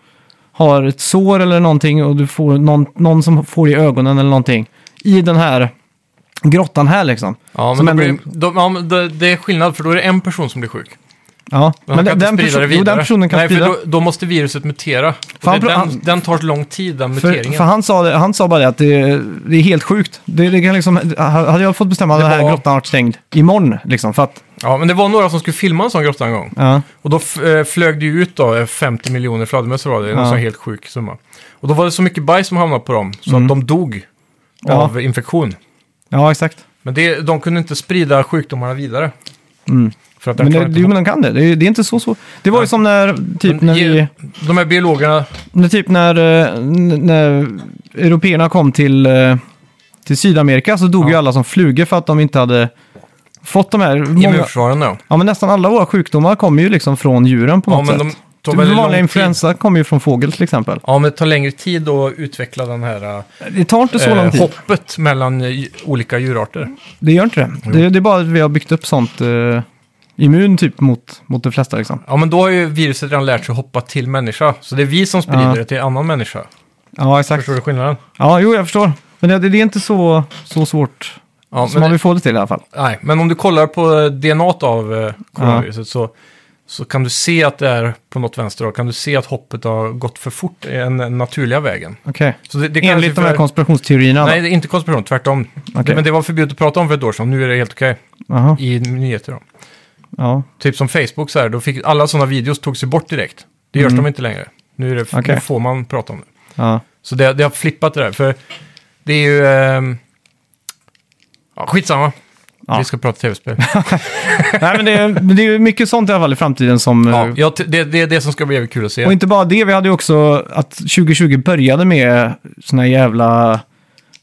A: har ett sår eller någonting och du får någon, någon som får i ögonen eller någonting i den här grottan här liksom.
B: ja,
A: som
B: men då
A: ändå-
B: blir, de, ja, men det, det är skillnad, för då är det en person som blir sjuk.
A: Ja,
B: Men, han kan
A: den,
B: inte
A: perso-
B: sprida det
A: jo,
B: vidare.
A: den personen kan
B: Nej,
A: sprida.
B: för då, då måste viruset mutera.
A: För han
B: Och
A: pra-
B: det, den,
A: han-
B: den tar lång tid, den
A: För,
B: muteringen.
A: för han, sa det, han sa bara det att det, det är helt sjukt. Det, det kan liksom, hade jag fått bestämma hade
B: Det
A: den här
B: var-
A: grottan varit stängd imorgon. Liksom, för att,
B: Ja, men det var några som skulle filma en sån grotta en gång.
A: ja,
B: Och då f- eh, flög det ju ut då, eh, 50 miljoner fladdermöss var det, en
A: Ja.
B: sån helt sjuk summa. Och då var det så mycket bajs som hamnade på dem, så att de dog
A: Mm. Ja.
B: av infektion.
A: ja, exakt.
B: Men det, de kunde inte sprida sjukdomarna vidare. För att
A: Mm. Men
B: den
A: det,
B: klarar
A: det,
B: inte
A: jo, men de kan det. Det är, det är inte så svårt. Det var ju som när, typ,
B: Men
A: när,
B: ge-
A: vi,
B: De här biologerna,
A: när, typ när, eh, n- när européerna kom till, eh, till Sydamerika så dog
B: Ja.
A: ju alla som flugor för att de inte hade fått de här. Många,
B: immunförsvaren då.
A: ja, men nästan alla våra sjukdomar kommer ju liksom från djuren på
B: Ja,
A: något
B: men de
A: sätt.
B: tar
A: Typ
B: väldigt lång
A: vanliga
B: tid.
A: influensa kommer ju från fågel till exempel.
B: Ja, men det tar längre tid att utveckla den här
A: Det tar inte så lång
B: eh,
A: tid.
B: hoppet mellan eh, dj- olika djurarter.
A: Det gör inte det. det. Det är bara att vi har byggt upp sånt eh, immun typ mot, mot de flesta liksom.
B: Ja, men då har ju viruset redan lärt sig att hoppa till människa. Så det är vi som sprider
A: Ja.
B: det till annan människa.
A: Ja, exakt.
B: Förstår du skillnaden?
A: Ja, jo, jag förstår. Men det, det är inte så, så svårt
B: Ja,
A: som
B: men,
A: man vill få det till i alla fall.
B: nej, men om du kollar på DNA av eh, coronaviruset så, så kan du se att det är på något vänster. då. Kan du se att hoppet har gått för fort i den eh, naturliga vägen.
A: Okej.
B: Så det, det kanske
A: Enligt de
B: för-
A: här konspirationsteorierna.
B: Nej, det är inte konspiration, tvärtom.
A: Okej.
B: Men det var förbjudet att prata om för ett år sedan, nu är det helt okej.
A: Jaha,
B: I nyheter då.
A: ja.
B: Typ som Facebook så här, då fick alla sådana videos togs ju bort direkt. Det görs de inte längre. Nu, är det,
A: Mm. Okej.
B: nu får man prata om det.
A: ja.
B: Så det, det har flippat det där, för det är ju... ehm, ja, skitsamma.
A: Ja.
B: Vi ska prata tv-spel.
A: Nej, men det, är- men det är ju mycket sånt i alla fall i framtiden som...
B: ja,
A: eh,
B: jag ty- det, det är det som ska bli jävligt kul att se.
A: Och inte bara det, vi hade ju också att 2020 började med såna här jävla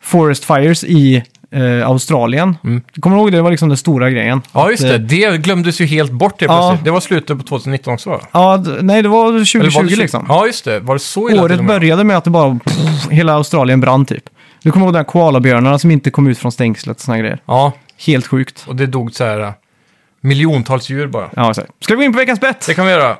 A: forest fires i eh, Australien. Kommer du ihåg det? Det var liksom den stora grejen.
B: Mm. Ja, just
A: Att, eh,
B: det. Det glömdes ju helt bort det
A: Ja.
B: plötsligt. Det var slutet på 2019 också, va?
A: Ja, d- nej, det var 2020
B: Eller var det tjugo-
A: liksom.
B: Ja, just det. Var det så illa till
A: Året
B: och med?
A: började med att det bara pff, hela Australien brann typ. Du kommer ihåg de här koalabjörnarna som inte kom ut från stängslet och såna grejer.
B: Ja,
A: Helt sjukt.
B: och det dog så här eh, miljontals djur bara.
A: Ja, exakt. Ska vi gå in på veckans bett?
B: Det kan vi göra.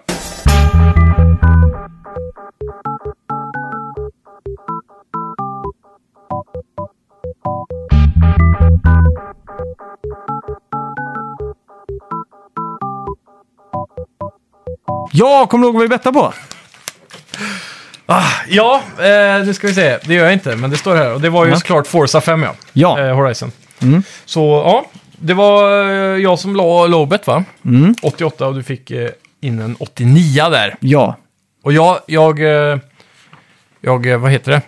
A: Ja, kommer du ihåg vad vi bettade på?
B: Ja, eh, nu ska vi se. Det gör jag inte, men det står här. Och det var ju
A: Ja.
B: såklart Forza 5, ja.
A: Ja. Mm.
B: Eh, Horizon. Så, ja. Det var eh, jag som la lowbet, va?
A: Mm.
B: 88 och du fick eh, in en 89 där.
A: Ja.
B: Och jag, jag, eh, jag, eh, vad heter det?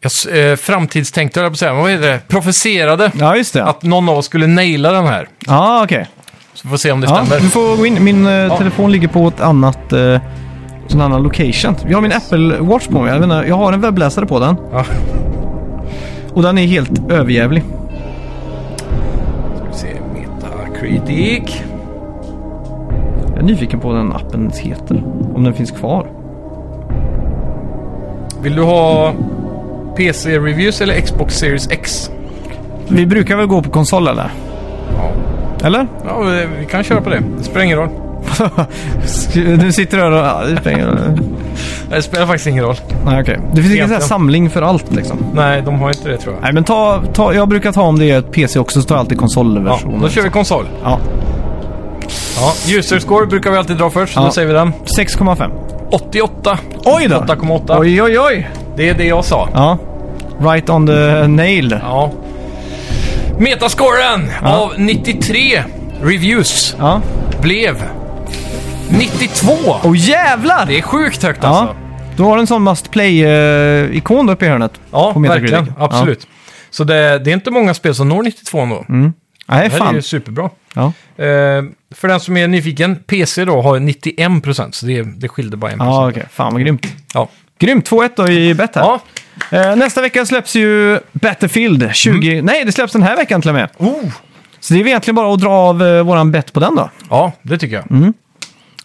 B: Jag s- eh, framtidstänkte, höll jag på att säga, men vad heter det? Profeserade
A: Ja, just det. Ja,
B: att någon av oss skulle naila den här.
A: ah, okej.
B: Så vi får se om det
A: Ja,
B: stämmer.
A: du får gå in. Min eh, telefon ligger på ett annat... Eh, en annan location. Jag har min Apple Watch på mig. Jag, menar, jag har en webbläsare på den.
B: Ja.
A: Och den är helt överjävlig.
B: Kritik.
A: Jag är nyfiken på vad den appen heter. Om den finns kvar.
B: Vill du ha PC-reviews eller Xbox Series X?
A: Vi brukar väl gå på konsol eller?
B: Ja.
A: Eller?
B: ja, vi- vi kan köra på det. Det spelar ingen roll.
A: nu sitter du här och... Ja, det spelar ingen roll.
B: Det spelar faktiskt ingen roll.
A: Nej, okej. Det finns ingen sån här
B: Egentligen.
A: samling för allt liksom.
B: Nej, de har inte det tror jag.
A: Nej, men ta... ta jag brukar ta om det är ett PC också, så tar jag alltid
B: Ja,
A: konsolversionen.
B: då kör vi konsol.
A: Ja,
B: Ja, user score brukar vi alltid dra först, så
A: Ja.
B: nu säger vi den.
A: 6,5.
B: 88.
A: Oj då!
B: 8,8.
A: Oj, oj, oj!
B: Det är det jag sa.
A: Ja. Right on the nail.
B: Ja. Metascoren av 93 reviews
A: Ja.
B: blev 92.
A: Åh jävlar!
B: Det är sjukt högt
A: Ja.
B: alltså.
A: Du har en sån must play-ikon uppe i hörnet.
B: Ja,
A: på Metacritic.
B: verkligen.
A: Ja.
B: Absolut. Så det, det är inte många spel som når 92 ändå.
A: Nej,
B: Det här är
A: fan.
B: ju superbra.
A: Ja.
B: Eh, för den som är nyfiken, PC då har 91 procent, så det, det skilde bara 1 procent.
A: Ja, okej. Fan vad grymt.
B: Ja.
A: Grymt! 2-1 då i bet här.
B: Ja.
A: Eh, nästa vecka släpps ju Battlefield 20...
B: Mm.
A: Nej, det släpps den här veckan till och med.
B: Oh.
A: Så det är väl egentligen bara att dra av eh, våran bet på den då.
B: ja, det tycker jag.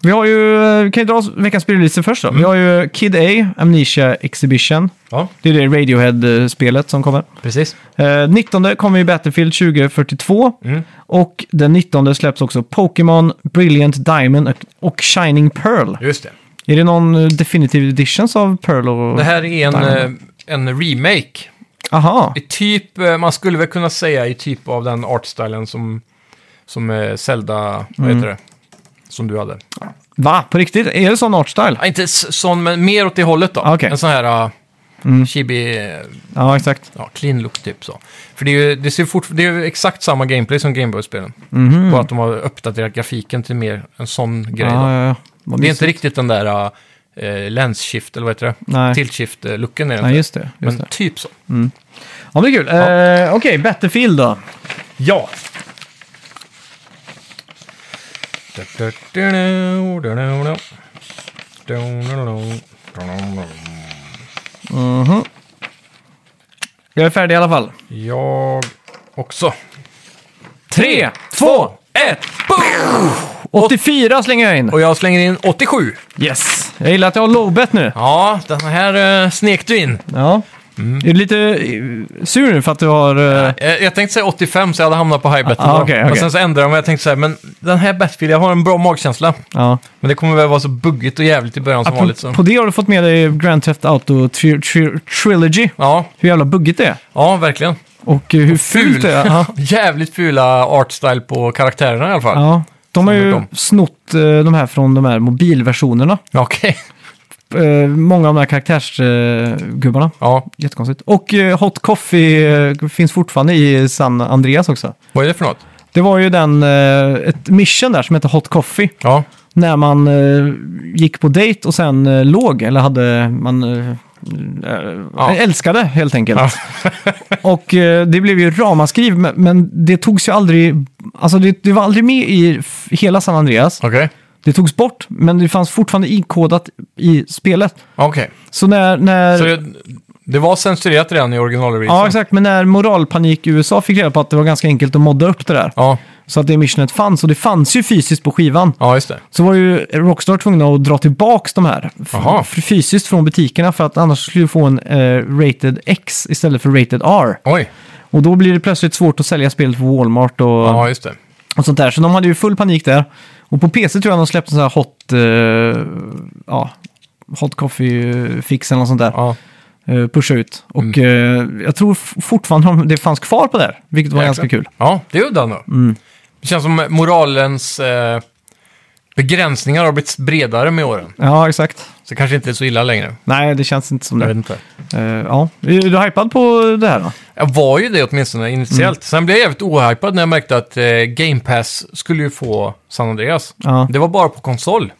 A: Vi har ju... eh, Vi kan ju dra veckans spellistor först då.
B: Mm.
A: Vi har ju Kid A, Amnesia Exhibition.
B: Ja,
A: Det är det Radiohead-spelet som kommer.
B: precis.
A: Eh, 19 kommer ju Battlefield 2042.
B: Mm.
A: Och den 19 släpps också Pokémon, Brilliant Diamond och- och Shining Pearl.
B: Just det.
A: Är det någon eh, definitive editions av Pearl? Och...
B: Det här är en,
A: Diamond.
B: eh, en remake.
A: Aha.
B: I typ, eh, man skulle väl kunna säga i typ av den artstylen som, som eh, Zelda, vad heter det? Som du hade.
A: Va? På riktigt? Är det sån artstyle?
B: Ja, inte s- sån, men mer åt det hållet då.
A: Ah, okej.
B: En sån här uh, chibi, eh,
A: Ja, exakt.
B: ja, clean look typ så. För det är ju, det ser fort, det är ju exakt samma gameplay som Gameboy-spelen. Bara att de har uppdaterat grafiken till mer en sån grej. då.
A: Mhm. Ja, ja, ja. Vad
B: Det är
A: mysigt.
B: inte riktigt den där uh, lens shift, eller vad heter det?
A: Nej.
B: Tilt shift-looken är det
A: Nej,
B: inte.
A: just det. Just
B: Men
A: det.
B: typ så.
A: Ja, men det är kul. Eh, Okej, Battlefield då.
B: Ja.
A: Jag är färdig i alla fall.
B: Jag också.
A: Tre, två, ett, boom! 84 slänger jag in.
B: Och jag slänger in 87.
A: Yes. Jag gillar att jag har lowbet nu.
B: Ja, den här eh, snek du in.
A: Ja. Är du lite eh, sur nu för att du har... eh,
B: Eh, jag tänkte säga 85 så jag hade hamnat på highbet.
A: Ah, okej, okej.
B: Men sen så ändrade jag mig. Jag tänkte så här, men den här Battlefield, jag har en bra magkänsla.
A: Ja.
B: Men det kommer väl vara så buggigt och jävligt i början som vanligt.
A: På,
B: Så.
A: på det har du fått med dig Grand Theft Auto tri tri Trilogy.
B: Ja,
A: Hur jävla buggigt det är.
B: ja, verkligen.
A: Och eh, hur fult det är. Ja.
B: Jävligt fula artstyle på karaktärerna i alla fall.
A: Ja. De har
B: Som
A: ju
B: de.
A: snott eh, de här från de här mobilversionerna.
B: Okej.
A: Eh, många av de här karaktärsgubbarna.
B: Ja,
A: Jättekonstigt. Och eh, Hot Coffee eh, finns fortfarande i San Andreas också.
B: vad är det för något?
A: Det var ju den, eh, ett mission där som hette Hot Coffee.
B: Ja,
A: När man eh, gick på dejt och sen eh, låg, eller hade man... Eh, eh,
B: Ja.
A: Älskade helt enkelt.
B: Ja.
A: och eh, det blev ju ramaskriv, men- men det togs ju aldrig... Alltså det, det var aldrig med i f- hela San Andreas.
B: okej.
A: Det togs bort, men det fanns fortfarande inkodat i spelet.
B: Okej.
A: Så när... när
B: Så det, det var censurerat redan i originalreleasen?
A: Ja, exakt. Men när moralpanik i USA fick reda på att det var ganska enkelt att modda upp det där.
B: Ja,
A: Så att det missionet fanns. Och det fanns ju fysiskt på skivan.
B: ja just det.
A: Så var ju Rockstar tvungna att dra tillbaka de här f-
B: Jaha.
A: f- fysiskt från butikerna för att annars skulle du få en eh, Rated X istället för Rated R.
B: Oj,
A: Och då blir det plötsligt svårt att sälja spelet på Walmart och,
B: ja just det.
A: och sånt där. Så de hade ju full panik där. Och på PC tror jag de släppte en sån här hot, eh, ja, hot coffee-fix eller något sånt där.
B: Ja.
A: Eh, pusha ut.
B: Mm.
A: Och eh, jag tror f- fortfarande de- det fanns kvar på där, vilket var
B: Jäklar.
A: ganska kul.
B: ja, det är udda ändå.
A: Mm.
B: Det känns som moralens eh, begränsningar har blivit bredare med åren.
A: Ja, exakt.
B: Så det kanske inte är så illa längre.
A: Nej, det känns inte som
B: Jag vet
A: det.
B: inte.
A: Eh, ja. Är du hypad på det här då?
B: Jag var ju det åtminstone initiellt.
A: Mm.
B: Sen blev jag jävligt ohypad när jag märkte att eh, Game Pass skulle ju få San Andreas.
A: Ja. Mhm.
B: Det var bara på konsol.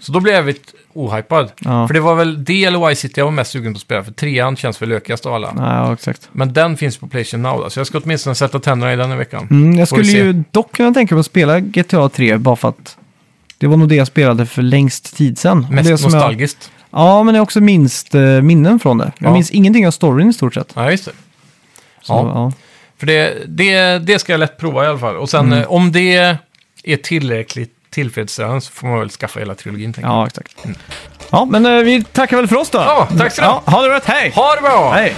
B: Så då blev jag jävligt ohypad.
A: Ja.
B: För det var väl det eller Y-City jag var mest sugen på att spela, för trean känns väl lökigast av alla.
A: Nej, ja, exakt.
B: Men den finns på Playstation Now, då, så jag ska åtminstone sätta tänderna i den i veckan.
A: Mm, jag
B: Får vi
A: skulle
B: se.
A: ju dock kunna tänka mig att spela GTA 3 bara för att det var nog det jag spelade för längst tid sedan.
B: Mest
A: det som jag,
B: nostalgiskt.
A: Ja, men jag har också minst eh, minnen från det. Jag
B: Ja.
A: minns ingenting av storyn i stort sett.
B: Ja, just det.
A: Så,
B: Ja.
A: ja.
B: För det, det, det ska jag lätt prova i alla fall. Och
A: Mm.
B: sen eh, om det är tillräckligt tillfredsställande så får man väl skaffa hela trilogin. tänker
A: Ja, exakt. Ja, men eh, vi tackar väl för oss då.
B: Mm. Ja, tack så mycket.
A: Ja, ha det rätt, hej!
B: jag. Ha det bra!
A: Hej!